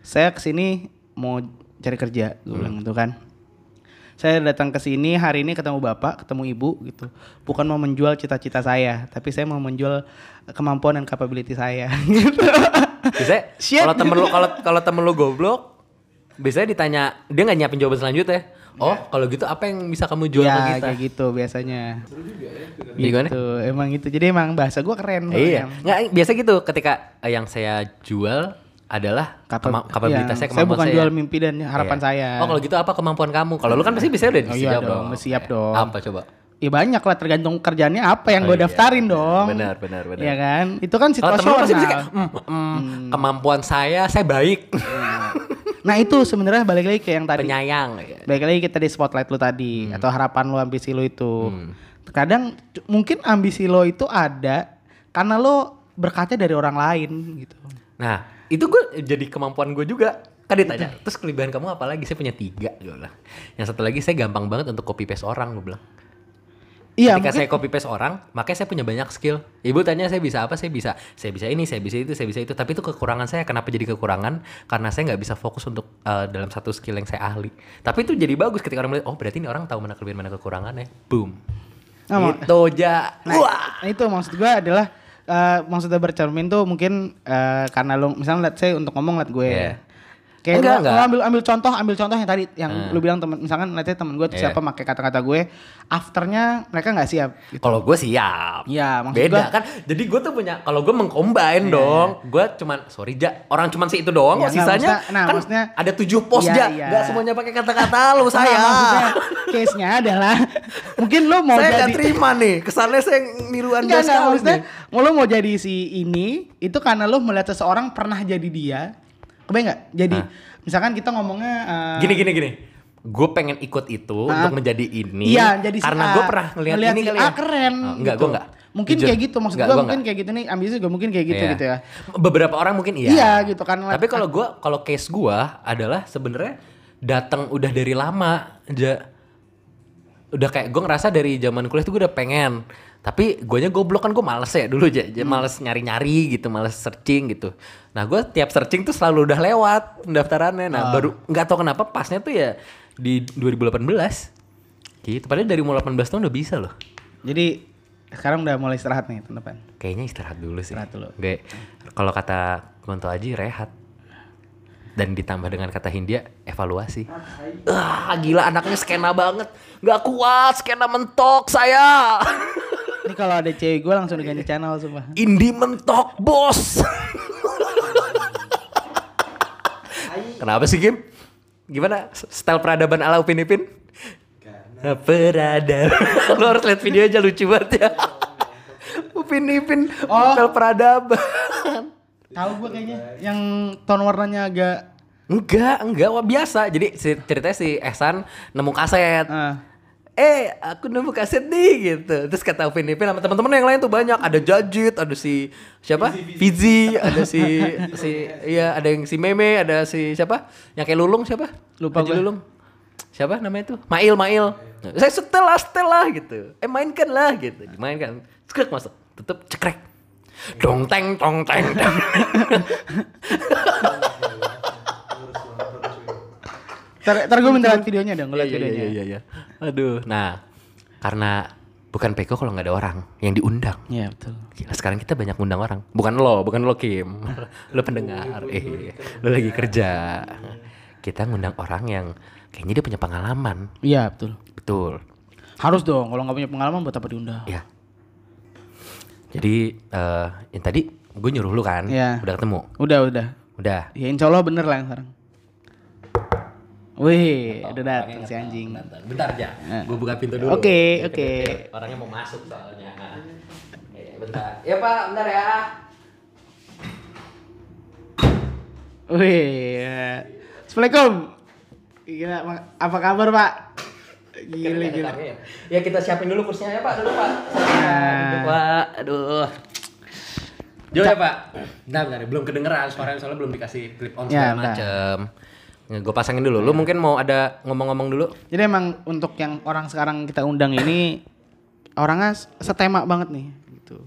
S1: saya kesini mau cari kerja gue bilang gitu kan. Saya datang ke sini hari ini ketemu bapak, ketemu ibu gitu. Bukan mau menjual cita-cita saya, tapi saya mau menjual kemampuan dan capability saya. gitu.
S2: Biasanya
S1: Shit.
S2: kalau temen lu kalau kalau temen lu goblok, biasanya ditanya dia nggak nyiapin jawaban selanjutnya. Oh, kalau gitu apa yang bisa kamu jual sama
S1: Iya. ya
S2: kita?
S1: kayak gitu biasanya.
S2: Jadi gimana?
S1: Gitu, emang gitu. Jadi emang bahasa gua keren.
S2: Iya.
S1: soalnya.
S2: Nggak, biasa gitu ketika eh, yang saya jual adalah
S1: Kapa-
S2: kema- kapabilitas
S1: iya,
S2: saya
S1: saya
S2: kemampuan
S1: bukan
S2: saya. ya.
S1: jual mimpi dan harapan
S2: Iya.
S1: saya.
S2: Oh, kalau gitu apa kemampuan kamu? Kalau lu kan pasti bisa udah
S1: Oh, iya
S2: disiap
S1: dong, siap dong.
S2: Eh, Apa coba?
S1: Ya banyak lah tergantung kerjaannya apa yang
S2: Oh,
S1: gue
S2: iya,
S1: daftarin
S2: benar,
S1: dong.
S2: benar, benar, benar.
S1: Iya kan? Itu kan
S2: Kalau temen lu pasti bisa kayak
S1: situasional. Hmm.
S2: "Mm, mm, kemampuan saya saya baik,
S1: Nah itu sebenarnya balik lagi ke yang tadi.
S2: penyayang. Iya.
S1: Balik lagi kita di spotlight lu tadi
S2: Hmm.
S1: atau harapan lu ambisi lu itu. Kadang c- mungkin ambisi lo itu ada karena lo berkatnya dari orang lain gitu.
S2: Nah, itu gue jadi kemampuan gue juga. Kan ditanya, terus kelebihan kamu apa lagi? Saya punya tiga, gue bilang. Yang satu lagi, saya gampang banget untuk copy paste orang, gue bilang.
S1: Iya
S2: Ketika
S1: mungkin.
S2: saya copy paste orang, makanya saya punya banyak skill. Ibu tanya saya bisa apa, saya bisa. Saya bisa ini, saya bisa itu, saya bisa itu. Tapi itu kekurangan saya. Kenapa jadi kekurangan? Karena saya nggak bisa fokus untuk eh, dalam satu skill yang saya ahli. Tapi itu jadi bagus ketika orang melihat, oh berarti ini orang tahu mana kelebihan, mana kekurangannya. Boom.
S1: Nah, mak-
S2: itu aja.
S1: Nah, nah, itu maksud gua adalah eh, maksudnya bercermin tuh mungkin eh, karena lo misalnya liat saya untuk ngomong liat gue.
S2: Iya.
S1: Kayak lu-
S2: Enggak,
S1: lu
S2: enggak. Ah.
S1: ambil ambil contoh, ambil contoh yang tadi yang lu bilang temen misalkan liatnya temen gue tuh
S2: Iya.
S1: siapa pakai kata-kata gue, afternya mereka nggak siap. Gitu.
S2: Kalau gue siap.
S1: Iya, maksud
S2: Beda
S1: gua-
S2: kan. Jadi gue tuh punya kalau gue mengcombine dong. Gue cuman sorry Ja, orang cuman si itu doang
S1: Iya,
S2: kok
S1: nggak,
S2: sisanya
S1: maksudnya- nah,
S2: kan
S1: maksudnya-
S2: ada tujuh pos
S1: Iya,
S2: Ja.
S1: iya.
S2: Nggak semuanya pakai kata-kata lu
S1: Nah,
S2: saya.
S1: maksudnya case-nya adalah mungkin lo mau
S2: saya nggak
S1: jadi
S2: terima nih. Kesannya saya niruan
S1: Enggak,
S2: dia
S1: enggak,
S2: sekali
S1: maksudnya
S2: nih.
S1: mau lo mau jadi si ini itu karena lo melihat seseorang pernah jadi dia. Kebayang nggak? Jadi
S2: Ah.
S1: misalkan kita ngomongnya eh,
S2: Gini gini gini. Gue pengen ikut itu
S1: Ah.
S2: untuk menjadi ini.
S1: Iya, jadi si
S2: karena
S1: A.
S2: gue pernah ngeliat
S1: Ngeliat
S2: ini
S1: si
S2: kali
S1: A
S2: ya.
S1: keren.
S2: Oh, enggak,
S1: gitu.
S2: gue enggak.
S1: Mungkin
S2: Jujur.
S1: kayak gitu maksud
S2: Enggak,
S1: gue
S2: gua
S1: mungkin
S2: enggak.
S1: kayak gitu nih ambisi juga mungkin kayak gitu
S2: Iya.
S1: gitu ya.
S2: Beberapa orang mungkin iya.
S1: Iya, gitu kan.
S2: Tapi kalau gua kalau case gua adalah sebenarnya datang udah dari lama aja. Udah kayak gua ngerasa dari zaman kuliah tuh gua udah pengen. Tapi guanya goblok kan gua males ya dulu aja,
S1: Hmm.
S2: males nyari-nyari gitu, males searching gitu. Nah, gua tiap searching tuh selalu udah lewat
S1: Oh.
S2: pendaftarannya. Nah, baru nggak tahu kenapa pasnya tuh ya di 2018. Gitu. Padahal dari umur 18 tahun udah bisa loh.
S1: Jadi sekarang udah mulai istirahat nih teman-teman.
S2: Kayaknya istirahat dulu sih.
S1: Istirahat dulu.
S2: Gue kalau kata Kunto Aji rehat. Dan ditambah dengan kata Hindia evaluasi. Ah, gila anaknya skena banget. Nggak kuat, skena mentok saya.
S1: Ini kalau ada cewek gue langsung diganti channel sumpah.
S2: Indi mentok, bos. Kenapa sih, Kim? Gimana style peradaban ala Upin Ipin? Peradaban. Lo harus lihat video aja lucu banget ya. Upin Ipin, style peradaban.
S1: Tahu gue kayaknya yang tone warnanya agak
S2: Enggak, enggak, wah biasa. Jadi si- ceritanya si Ehsan nemu kaset.
S1: eh,
S2: Eh, aku nemu kaset nih gitu. Terus kata Upin Ipin sama teman-teman yang lain tuh banyak. Ada Jajit, ada si siapa? Fizi, ada si si iya, ada yang si Meme, ada si siapa? Yang kayak Lulung siapa?
S1: Lupa
S2: Haji
S1: gue.
S2: Lulung. Siapa namanya itu? Mail, Mail. Nah, Saya setel lah, setel lah gitu. Eh mainkan lah gitu. Dimainkan. Cekrek masuk. Tutup cekrek. Dong teng tong teng. teng.
S1: Ntar, ntar gue minta liat videonya dong, gue liat
S2: Iya, iya,
S1: videonya.
S2: iya, iya, iya. Aduh. Nah, karena bukan Peko kalau nggak ada orang yang diundang.
S1: Iya betul.
S2: Gila, sekarang kita banyak ngundang orang. Bukan lo, bukan lo Kim. lo
S1: Iya,
S2: pendengar. Eh, lo lagi kerja. Kita ngundang orang yang kayaknya dia punya pengalaman.
S1: Iya betul.
S2: Betul.
S1: Harus dong, kalau nggak punya pengalaman buat apa diundang?
S2: Ya. Jadi eh yang tadi gue nyuruh lu kan,
S1: Iya.
S2: udah ketemu.
S1: Udah udah.
S2: Udah.
S1: Ya insya Allah bener lah yang sekarang. Wih, Iya, udah datang si anjing. Iya.
S2: Bentar aja. Gue buka pintu dulu.
S1: Oke, oke.
S2: Orangnya mau masuk soalnya. Eh, Bentar. Ya Pak, bentar ya.
S1: Wih, ya. Assalamualaikum. Gila, Ma- apa kabar Pak? Gila, gila.
S2: Ya kita siapin dulu kursinya ya Pak, dulu Pak.
S1: Nah.
S2: Duduk, Pak. Aduh. Jo ya Pak. Bentar, bentar. Belum kedengeran suaranya soalnya belum dikasih clip on
S1: Ya,
S2: segala
S1: bentar. Ya.
S2: macem. Gue pasangin dulu. Lu mungkin mau ada ngomong-ngomong dulu?
S1: Jadi emang untuk yang orang sekarang kita undang ini orangnya s- setema banget nih, gitu.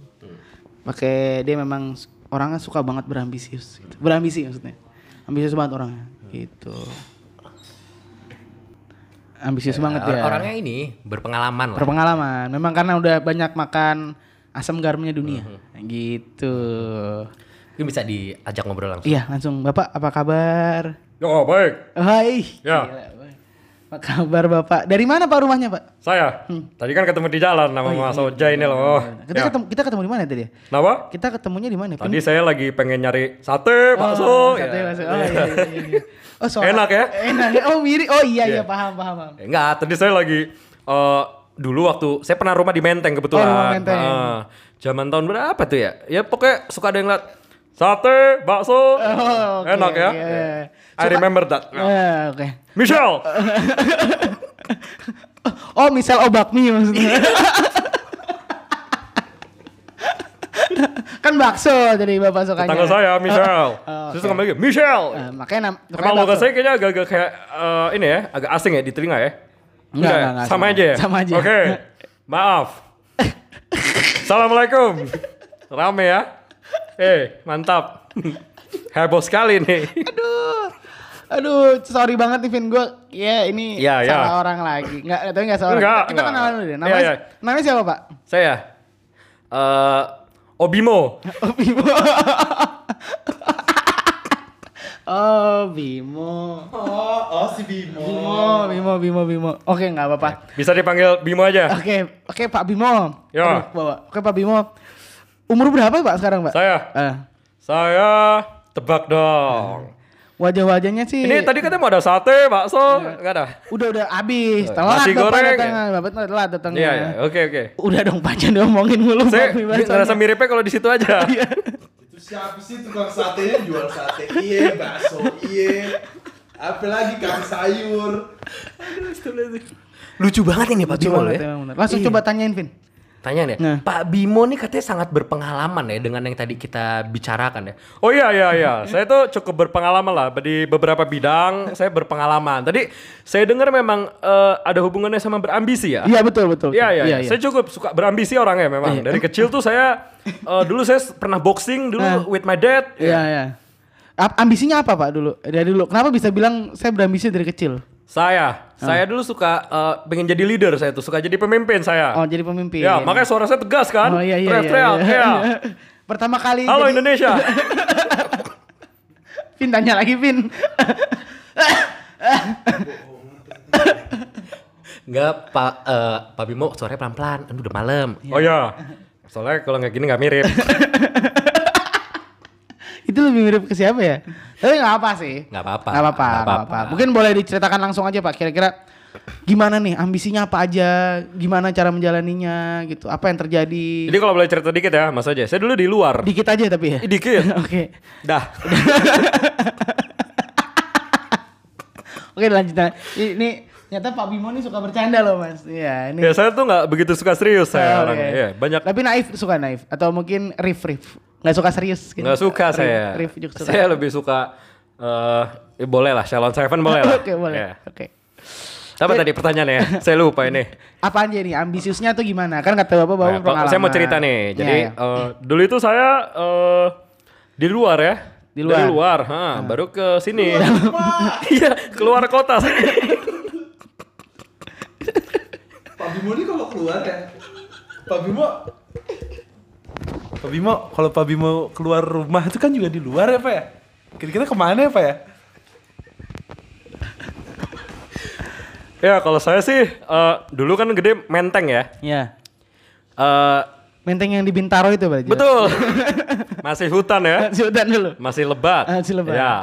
S1: Pakai dia memang s- orangnya suka banget berambisius, gitu. berambisi maksudnya, ambisius banget orangnya, gitu. ambisius banget
S5: Or-
S1: ya.
S5: Orangnya ini berpengalaman lah.
S1: Berpengalaman. Memang karena udah banyak makan asam garamnya dunia. Gitu.
S5: Mungkin bisa diajak ngobrol langsung.
S1: Iya, langsung Bapak apa kabar?
S2: Ya baik,
S1: Hai.
S2: Ya.
S1: Gila, Boy. apa kabar Bapak? Dari mana Pak rumahnya, Pak?
S2: saya. Tadi kan ketemu di jalan
S1: Oh,
S2: sama
S1: iya,
S2: Mas Oja ini loh.
S1: Kita
S2: Ya.
S1: ketemu kita ketemu di mana tadi ya?
S2: Kenapa?
S1: Kita ketemunya di mana? ya?
S2: Tadi saya lagi pengen nyari sate, bakso.
S1: sate
S2: ya.
S1: bakso. Oh, iya, iya, iya, iya. Oh, soal-
S2: Enak ya?
S1: Enak ya. Oh, mirip. Oh iya iya paham paham. paham.
S2: Eh, Enggak, tadi saya lagi eh dulu waktu saya pernah rumah di Menteng kebetulan.
S1: Oh, rumah Menteng.
S2: Ah, zaman tahun berapa tuh ya? Ya pokoknya suka ada yang lihat sate,
S1: Oh,
S2: bakso.
S1: oke,
S2: Enak ya.
S1: oke, iya, iya.
S2: I remember that.
S1: Eh, oke.
S2: Michelle.
S1: Oh, misal obakmi
S2: Iya.
S1: maksudnya. kan bakso jadi Bapak sukanya.
S2: Tetangga saya Michelle.
S1: Oh,
S2: Terus
S1: oke.
S2: ngomong lagi Michelle.
S1: Eh, makanya nam-
S2: Emang
S1: makanya
S2: logo
S1: bakso.
S2: saya kayaknya agak-agak kayak eh, ini ya, agak asing ya di telinga ya.
S1: Enggak,
S2: ya?
S1: enggak, enggak,
S2: sama,
S1: sama.
S2: aja ya.
S1: Sama aja.
S2: Oke. Maaf. Assalamualaikum. Rame ya. Eh, mantap. Heboh sekali nih.
S1: Aduh. Aduh, sorry banget nih Vin gue. Ya, ini
S2: Ya, ya.
S1: salah orang lagi. Enggak, tapi enggak salah. orang.
S2: Enggak,
S1: kita kita
S2: enggak.
S1: kenalan dulu deh.
S2: Iya,
S1: Namanya,
S2: iya.
S1: namanya siapa, Pak?
S2: Saya eh Obimo.
S1: Oh, Bimo. oh, Bimo.
S4: Oh, oh si Bimo.
S1: Bimo, Bimo, Bimo, Bimo. Oke, enggak apa-apa.
S2: Bisa dipanggil Bimo aja.
S1: Oke, oke Pak Bimo.
S2: Ya.
S1: Aduh, bawa. Oke Pak Bimo. Umur berapa Pak sekarang Pak?
S2: Saya.
S1: Eh,
S2: Saya tebak dong.
S1: wajah-wajahnya sih
S2: Ini tadi katanya mau ada sate, bakso,
S1: Iya.
S2: enggak ada.
S1: udah udah habis.
S2: Eh,
S1: Telat
S2: nasi
S1: Bapak
S2: goreng,
S1: datang. Bapak telat datangnya.
S2: Iya, iya. Oke, oke.
S1: Udah dong Pak jangan diomongin mulu
S2: Saya
S1: Pak, Bimo.
S2: ngerasa miripnya kalau di situ aja.
S1: Iya.
S4: Itu siapa sih tukang satenya jual sate? Iya, bakso, iya. Apalagi kang sayur.
S5: Lucu banget ini Pak
S1: Lucu
S5: Bimo
S1: banget
S5: ya.
S1: emang, bener.
S2: Iya.
S1: Langsung coba tanyain Vin.
S2: Ah.
S5: Tanya deh,
S2: ya,
S1: Nah.
S5: Pak Bimo nih katanya sangat berpengalaman ya dengan yang tadi kita bicarakan ya.
S2: Oh iya iya iya, saya tuh cukup berpengalaman lah di beberapa bidang saya berpengalaman. Tadi saya dengar memang eh, ada hubungannya sama berambisi ya.
S1: Iya betul betul.
S2: Iya iya, iya. saya cukup suka berambisi orangnya
S1: Iya.
S2: memang. Dari kecil tuh saya eh, dulu saya s- pernah boxing dulu
S1: Nah.
S2: with my dad.
S1: Iya iya. Ap- Ambisinya apa Pak dulu? Dari dulu. Kenapa bisa bilang saya berambisi dari kecil?
S2: Saya
S1: Ah.
S2: saya dulu suka eh, pengen jadi leader saya tuh, suka jadi pemimpin saya.
S1: Oh, jadi pemimpin.
S2: ya, makanya suara saya tegas kan.
S1: Oh iya iya. iya,
S2: Teriak-teriak,
S1: iya.
S2: ya.
S1: Pertama kali
S2: Halo
S1: jadi-
S2: Indonesia.
S1: Vin tanya lagi Vin.
S5: Enggak Pak eh, Pak Bimo suaranya pelan-pelan. Aduh udah malam.
S2: Oh iya. Soalnya kalau nggak gini nggak mirip.
S1: itu lebih mirip ke siapa ya? Tapi nggak apa sih.
S5: Nggak apa-apa.
S1: Nggak apa-apa.
S5: Nggak
S1: nggak
S5: apa-apa.
S1: apa-apa. Mungkin boleh diceritakan langsung aja Pak. Kira-kira gimana nih ambisinya apa aja? Gimana cara menjalaninya gitu? Apa yang terjadi?
S2: Jadi kalau boleh cerita dikit ya, Mas aja. Saya dulu di luar.
S1: Dikit aja tapi ya.
S2: Ih, Dikit.
S1: Oke.
S2: Dah.
S1: Oke lanjut. Nah, Ini nyata Pak Bimo nih suka bercanda loh Mas. Iya, ini.
S2: Ya saya tuh nggak begitu suka serius saya
S1: Oh,
S2: orangnya.
S1: oke.
S2: Iya, banyak
S1: Tapi naif suka naif atau mungkin riff riff. Nggak suka serius gitu.
S2: nggak suka
S1: Riff-
S2: saya.
S1: Riff juga suka.
S2: Saya lebih suka eh ya boleh lah, Shalom Seven boleh lah.
S1: Oke, boleh.
S2: Iya.
S1: Oke.
S2: Apa tadi pertanyaannya? saya lupa ini.
S1: Apa aja nih ambisiusnya tuh gimana? Kan kata Bapak bawa Iya,
S2: Nah, kalau- saya mau cerita nih. Jadi eh, dulu itu saya eh di luar ya.
S1: Di luar. Ah.
S2: Dari luar, ha, baru ke sini. Iya, keluar kota. saya.
S4: Pak Bimo ini kalau keluar ya. Pak Bimo Pak Bimo, kalau Pak Bimo keluar rumah itu kan juga di luar ya Pak ya? Kira-kira kemana ya Pak ya?
S2: ya, kalau saya sih eh dulu kan gede menteng ya.
S1: ya.
S2: Eh
S1: Menteng yang di Bintaro itu Pak.
S2: betul.
S1: Iya.
S2: Masih hutan ya.
S1: Sudan dulu.
S2: Masih lebat.
S1: Ah, Masih lebat. Hmm.
S2: Ya.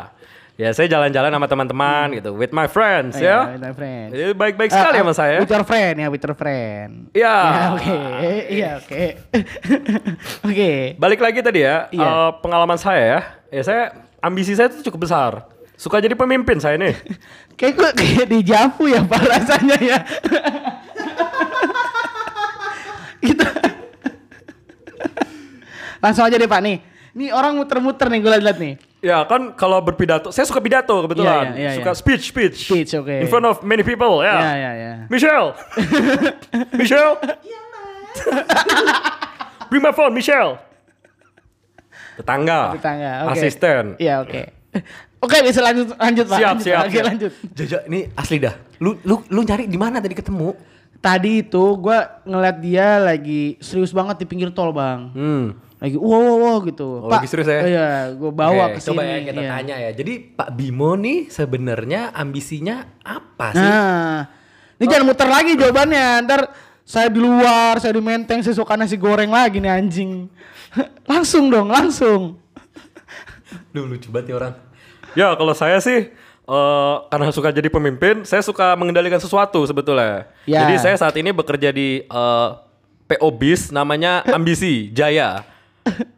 S2: Ya saya jalan-jalan sama teman-teman gitu, with my friends ya.
S1: Iya, with my friends.
S2: Jadi baik-baik sekali
S1: Ah,
S2: sama
S1: ah,
S2: saya.
S1: With your friend ya, with your friend.
S2: Ya.
S1: Ya, Oke, iya oke. Oke.
S2: Balik lagi tadi ya,
S1: Iya.
S2: eh, pengalaman saya ya. Ya saya ambisi saya tuh cukup besar. Suka jadi pemimpin saya nih.
S1: Kayak gue kayak di Javu ya Pak rasanya ya. Kita Gitu. Langsung aja deh Pak nih. Nih orang muter-muter nih gue lihat nih.
S2: ya kan kalau berpidato, saya suka pidato
S1: Iya,
S2: kebetulan.
S1: iya, iya,
S2: suka
S1: iya.
S2: speech speech.
S1: Speech, oke.
S2: In front of many people ya.
S1: Ya ya ya.
S2: Michelle. Michelle. Bring my phone, Michelle. Tetangga.
S1: Tetangga. oke.
S2: Asisten.
S1: Iya oke. Oke, bisa lanjut lanjut Pak.
S3: Siap,
S1: Lanjut,
S3: siap,
S1: Pak. Oke,
S3: siap.
S1: lanjut.
S2: Jaja, ini asli dah. Lu lu lu nyari di mana tadi ketemu?
S1: Tadi itu gua ngeliat dia lagi serius banget di pinggir tol, Bang.
S2: Hmm.
S1: Lagi wow wow, wow gitu.
S2: Oh, lagi serius ya?
S1: Iya, gua bawa
S2: Oke,
S1: ke sini.
S2: Coba ya kita
S1: iya.
S2: tanya ya. Jadi Pak Bimo nih sebenarnya ambisinya apa sih?
S1: Nah, ini jangan muter lagi jawabannya. Ntar saya di luar, saya di menteng, saya suka nasi goreng lagi nih anjing. langsung dong, langsung.
S2: Duh lucu banget nih orang.
S3: Ya kalau saya sih eh, karena suka jadi pemimpin, saya suka mengendalikan sesuatu sebetulnya.
S1: Ya.
S3: Jadi saya saat ini bekerja di eh, PO Bis namanya Ambisi Jaya.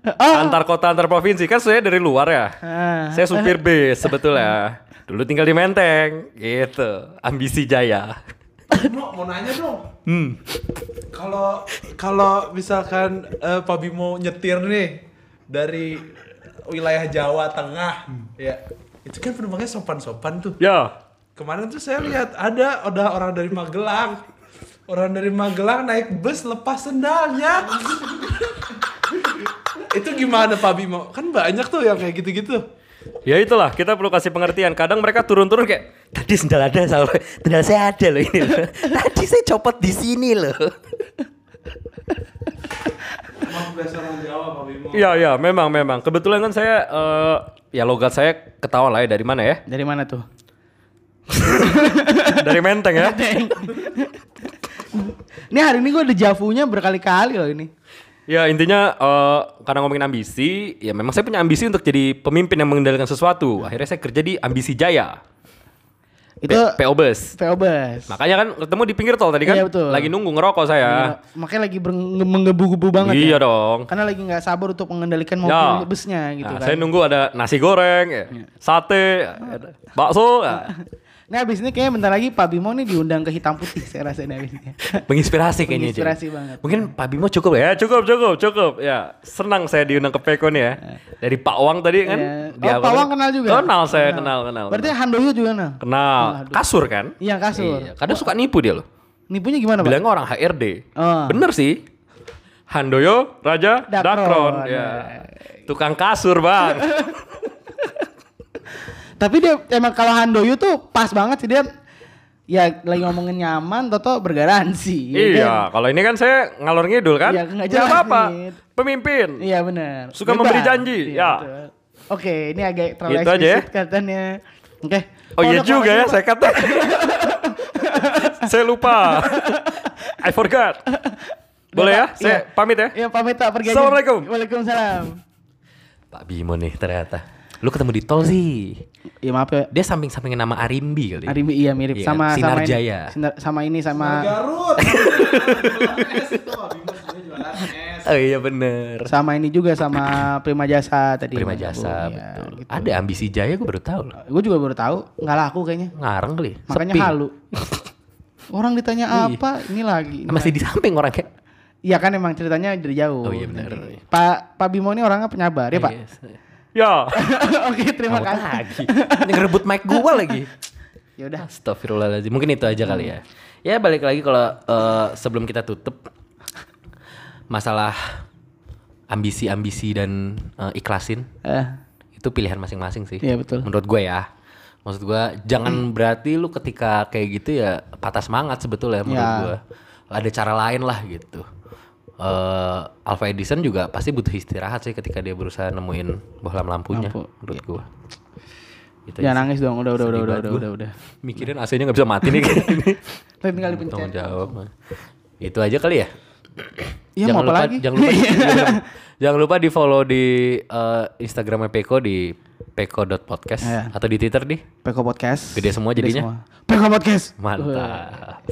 S1: Oh.
S3: Antar kota antar provinsi kan saya dari luar ya.
S1: Ah.
S3: Saya supir bis sebetulnya. Dulu tinggal di Menteng gitu. Ambisi Jaya.
S4: Bro, mau nanya dong. Kalau Hmm. kalau misalkan eh, Pak Bimo nyetir nih dari wilayah Jawa Tengah, ya itu kan penumpangnya sopan-sopan tuh.
S3: Ya.
S4: Kemarin tuh saya lihat ada ada orang dari Magelang. Orang dari Magelang naik bus lepas sendalnya. itu gimana Pak Bimo? Kan banyak tuh yang kayak gitu-gitu.
S3: Ya itulah kita perlu kasih pengertian. Kadang mereka turun-turun kayak
S2: Tadi sendal ada Sal. Sendal saya ada loh ini. loh. Tadi saya copot di sini loh.
S4: Emang biasa orang Jawa Pak Bimo.
S3: Iya iya memang memang. Kebetulan kan saya eh, ya logat saya ketawa lah ya dari mana ya?
S1: Dari mana tuh?
S3: Dari Menteng ya.
S1: ini hari ini gua ada javunya berkali-kali loh ini.
S3: Ya intinya eh, karena ngomongin ambisi, ya memang saya punya ambisi untuk jadi pemimpin yang mengendalikan sesuatu. Akhirnya saya kerja di Ambisi Jaya,
S1: Itu
S3: P- PO Bus.
S1: PO Bus.
S2: Nah.
S3: Makanya kan ketemu di pinggir tol tadi kan,
S1: Iya, betul.
S3: lagi nunggu ngerokok saya.
S1: Makanya lagi berenge- menggebu-gebu banget
S3: iya
S1: ya.
S3: dong.
S1: Karena lagi nggak sabar untuk mengendalikan mobil
S3: Ya.
S1: busnya gitu
S3: Nah,
S1: kan. Iya. Oh.
S3: Saya nunggu ada nasi goreng, ya, sate, ya, bakso. ya.
S1: Nah abis ini kayaknya bentar lagi Pak Bimo nih diundang ke hitam putih saya rasanya abis ini.
S3: Kan?
S2: Menginspirasi kayaknya. Jaja.
S1: Menginspirasi banget. Iya.
S2: Mungkin Pak Bimo cukup ya.
S3: Ya cukup cukup cukup ya senang saya diundang ke Peko nih ya dari Pak Wang tadi kan
S1: Iya.
S3: Di
S1: Oh,
S3: awal
S1: Pak Wang
S3: tadi.
S1: kenal juga?
S3: kenal saya kenal kenal
S1: Berarti
S3: kenal,
S1: Handoyo juga kenal?
S3: Kenal. kasur kan
S1: Iya kasur.
S2: Iya.
S3: kadang suka nipu dia loh
S1: Nipunya gimana Pak?
S3: bilangnya orang HRD
S1: Oh.
S3: bener sih Handoyo Raja
S1: Dakron. Nah. Iya.
S3: Dakron, ya tukang kasur bang
S1: Tapi dia emang kalau Handoyo tuh pas banget sih dia ya lagi ngomongin nyaman Toto bergaransi. ya kan?
S3: iya kalau ini kan saya ngalor ngidul kan
S1: Iya, nggak jelas
S3: apa-apa
S1: nih.
S3: pemimpin
S1: Iya benar.
S3: Suka memberi janji, ya.
S1: betul. Oke, ini agak terlalu
S3: Gitu aja ya.
S1: eksplisit katanya. Oke.
S3: oh iya
S1: Pondok
S3: juga
S1: Lawas
S3: ya
S1: Pak.
S3: saya kata saya lupa I forgot boleh ya
S1: Pak,
S3: saya
S1: iya.
S3: pamit ya
S1: Iya pamit Pak pergi aja.
S3: Assalamualaikum.
S1: Waalaikumsalam.
S2: Pak Bimo nih ternyata. Lu ketemu di tol sih.
S1: Iya maaf ya.
S2: Dia samping-sampingin nama Arimbi kali.
S1: Hari ini iya mirip
S2: Iya,
S1: sama
S2: Sinar
S1: sama ini.
S2: Jaya.
S1: Sinar- sama ini sama
S4: Garut. Jualan es itu Pak Bimo sebenarnya jualan es.
S2: Oh iya bener.
S1: sama ini juga sama Prima Jasa tadi.
S2: Prima
S1: Bang
S2: Jasa
S1: Agung, ya,
S2: betul.
S1: gitu.
S2: Ada ambisi jaya gue baru tahu loh.
S1: Gue juga baru tahu nggak laku kayaknya.
S2: Ngarang kali.
S1: Makanya
S2: sepi.
S1: halu. Orang ditanya
S2: Iya.
S1: apa, ini lagi. ini
S2: Masih di samping orang kayak.
S1: Iya kan emang ceritanya dari jauh.
S2: Oh iya, benar.
S1: Pak Pak Bimo ini orangnya penyabar ya Pak.
S3: ya
S1: Oke terima
S2: Terima
S1: kasih.
S2: lagi. Ini ngerebut mic gua lagi.
S1: Ya udah. Hmm.
S2: Astagfirullahaladzim. Mungkin itu aja kali ya. Ya balik lagi kalau eh, sebelum kita tutup masalah ambisi-ambisi dan eh, ikhlasin
S1: Eh,
S2: itu pilihan masing-masing sih.
S1: Iya, betul. Hmm.
S2: Menurut gue ya. Maksud gue jangan berarti lu ketika kayak gitu ya patah semangat sebetulnya menurut
S1: Ya.
S2: gue. Ada cara lain lah gitu. Eh Alpha Edison juga pasti butuh istirahat sih ketika dia berusaha nemuin bohlam lampunya
S1: Lampu, Iya. Ya, nah.
S2: menurut gue. Gitu aja
S1: jangan nangis dong. Udah udah
S2: Sedih
S1: udah udah
S2: banget
S1: udah
S2: gua.
S1: udah udah.
S2: mikirin AC-nya nggak bisa mati nih kayak gini.
S1: Tapi tinggal dipencet.
S2: Tanggung jawab. Itu aja kali ya.
S1: Iya, mau apa
S2: lupa,
S1: lagi?
S2: Jangan lupa, jangan lupa di follow di eh, Instagramnya Peko di peko.podcast
S1: Iya.
S2: atau di Twitter di
S1: Peko Podcast.
S2: Gede semua
S1: semua.
S2: jadinya?
S1: Peko Podcast. Iya.
S2: mantap.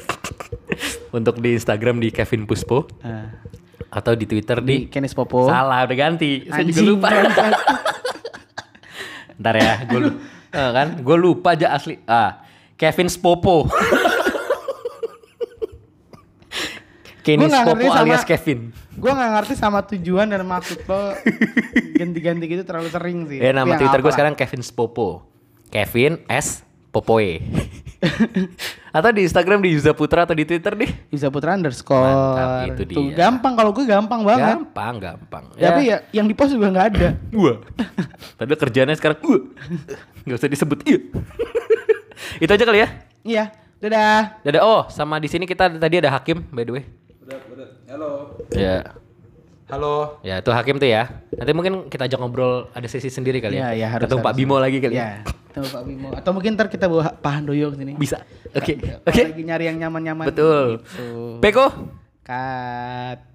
S2: Untuk di Instagram di Kevin Puspo
S1: Eh,
S2: atau di Twitter
S1: di
S2: di,
S1: Kenis Popo.
S2: salah udah ganti. Saya juga
S1: Anjing,
S2: lupa.
S1: bangsat.
S2: Ntar ya, gue lupa kan? Gue lupa aja asli. Ah, Kevin Spopo. Kenny
S1: Gua nggak ngerti
S2: Spopo
S1: sama-
S2: alias Kevin.
S1: Gue nggak ngerti sama tujuan dan maksud lo ganti-ganti gitu terlalu sering sih.
S2: Ya
S1: Tapi
S2: nama
S1: nggak
S2: Twitter gue
S1: apa-apa lah.
S2: sekarang Kevin Spopo. Kevin S Popoe. atau di Instagram di Yuza Putra atau di Twitter deh.
S1: Bisa Putra underscore.
S2: Mantap, itu
S1: Tuh,
S2: dia.
S1: gampang kalau gue gampang banget.
S2: Gampang, gampang.
S1: Tapi ya yang di post juga nggak ada.
S2: Wah. Padahal kerjaannya sekarang wah. Gak usah disebut iya. Itu aja kali ya.
S1: Iya. Dadah.
S2: Dadah. Oh, sama di sini kita tadi ada Hakim by the way.
S4: Halo.
S2: Ya.
S4: Halo.
S2: Ya, itu Hakim tuh ya. Nanti mungkin kita ajak ngobrol ada sesi sendiri kali
S1: Iya,
S2: ya.
S1: iya, harus,
S2: Atau Pak
S1: harus.
S2: Bimo lagi kali ya.
S1: Iya. Tahu Pak Bimo. Atau mungkin ntar kita bawa Pak Handoyo ke sini.
S2: Bisa. Oke.
S1: Kalau
S2: Oke.
S1: Lagi nyari yang nyaman-nyaman.
S2: Betul.
S1: Gitu.
S2: Peko.
S1: Cut.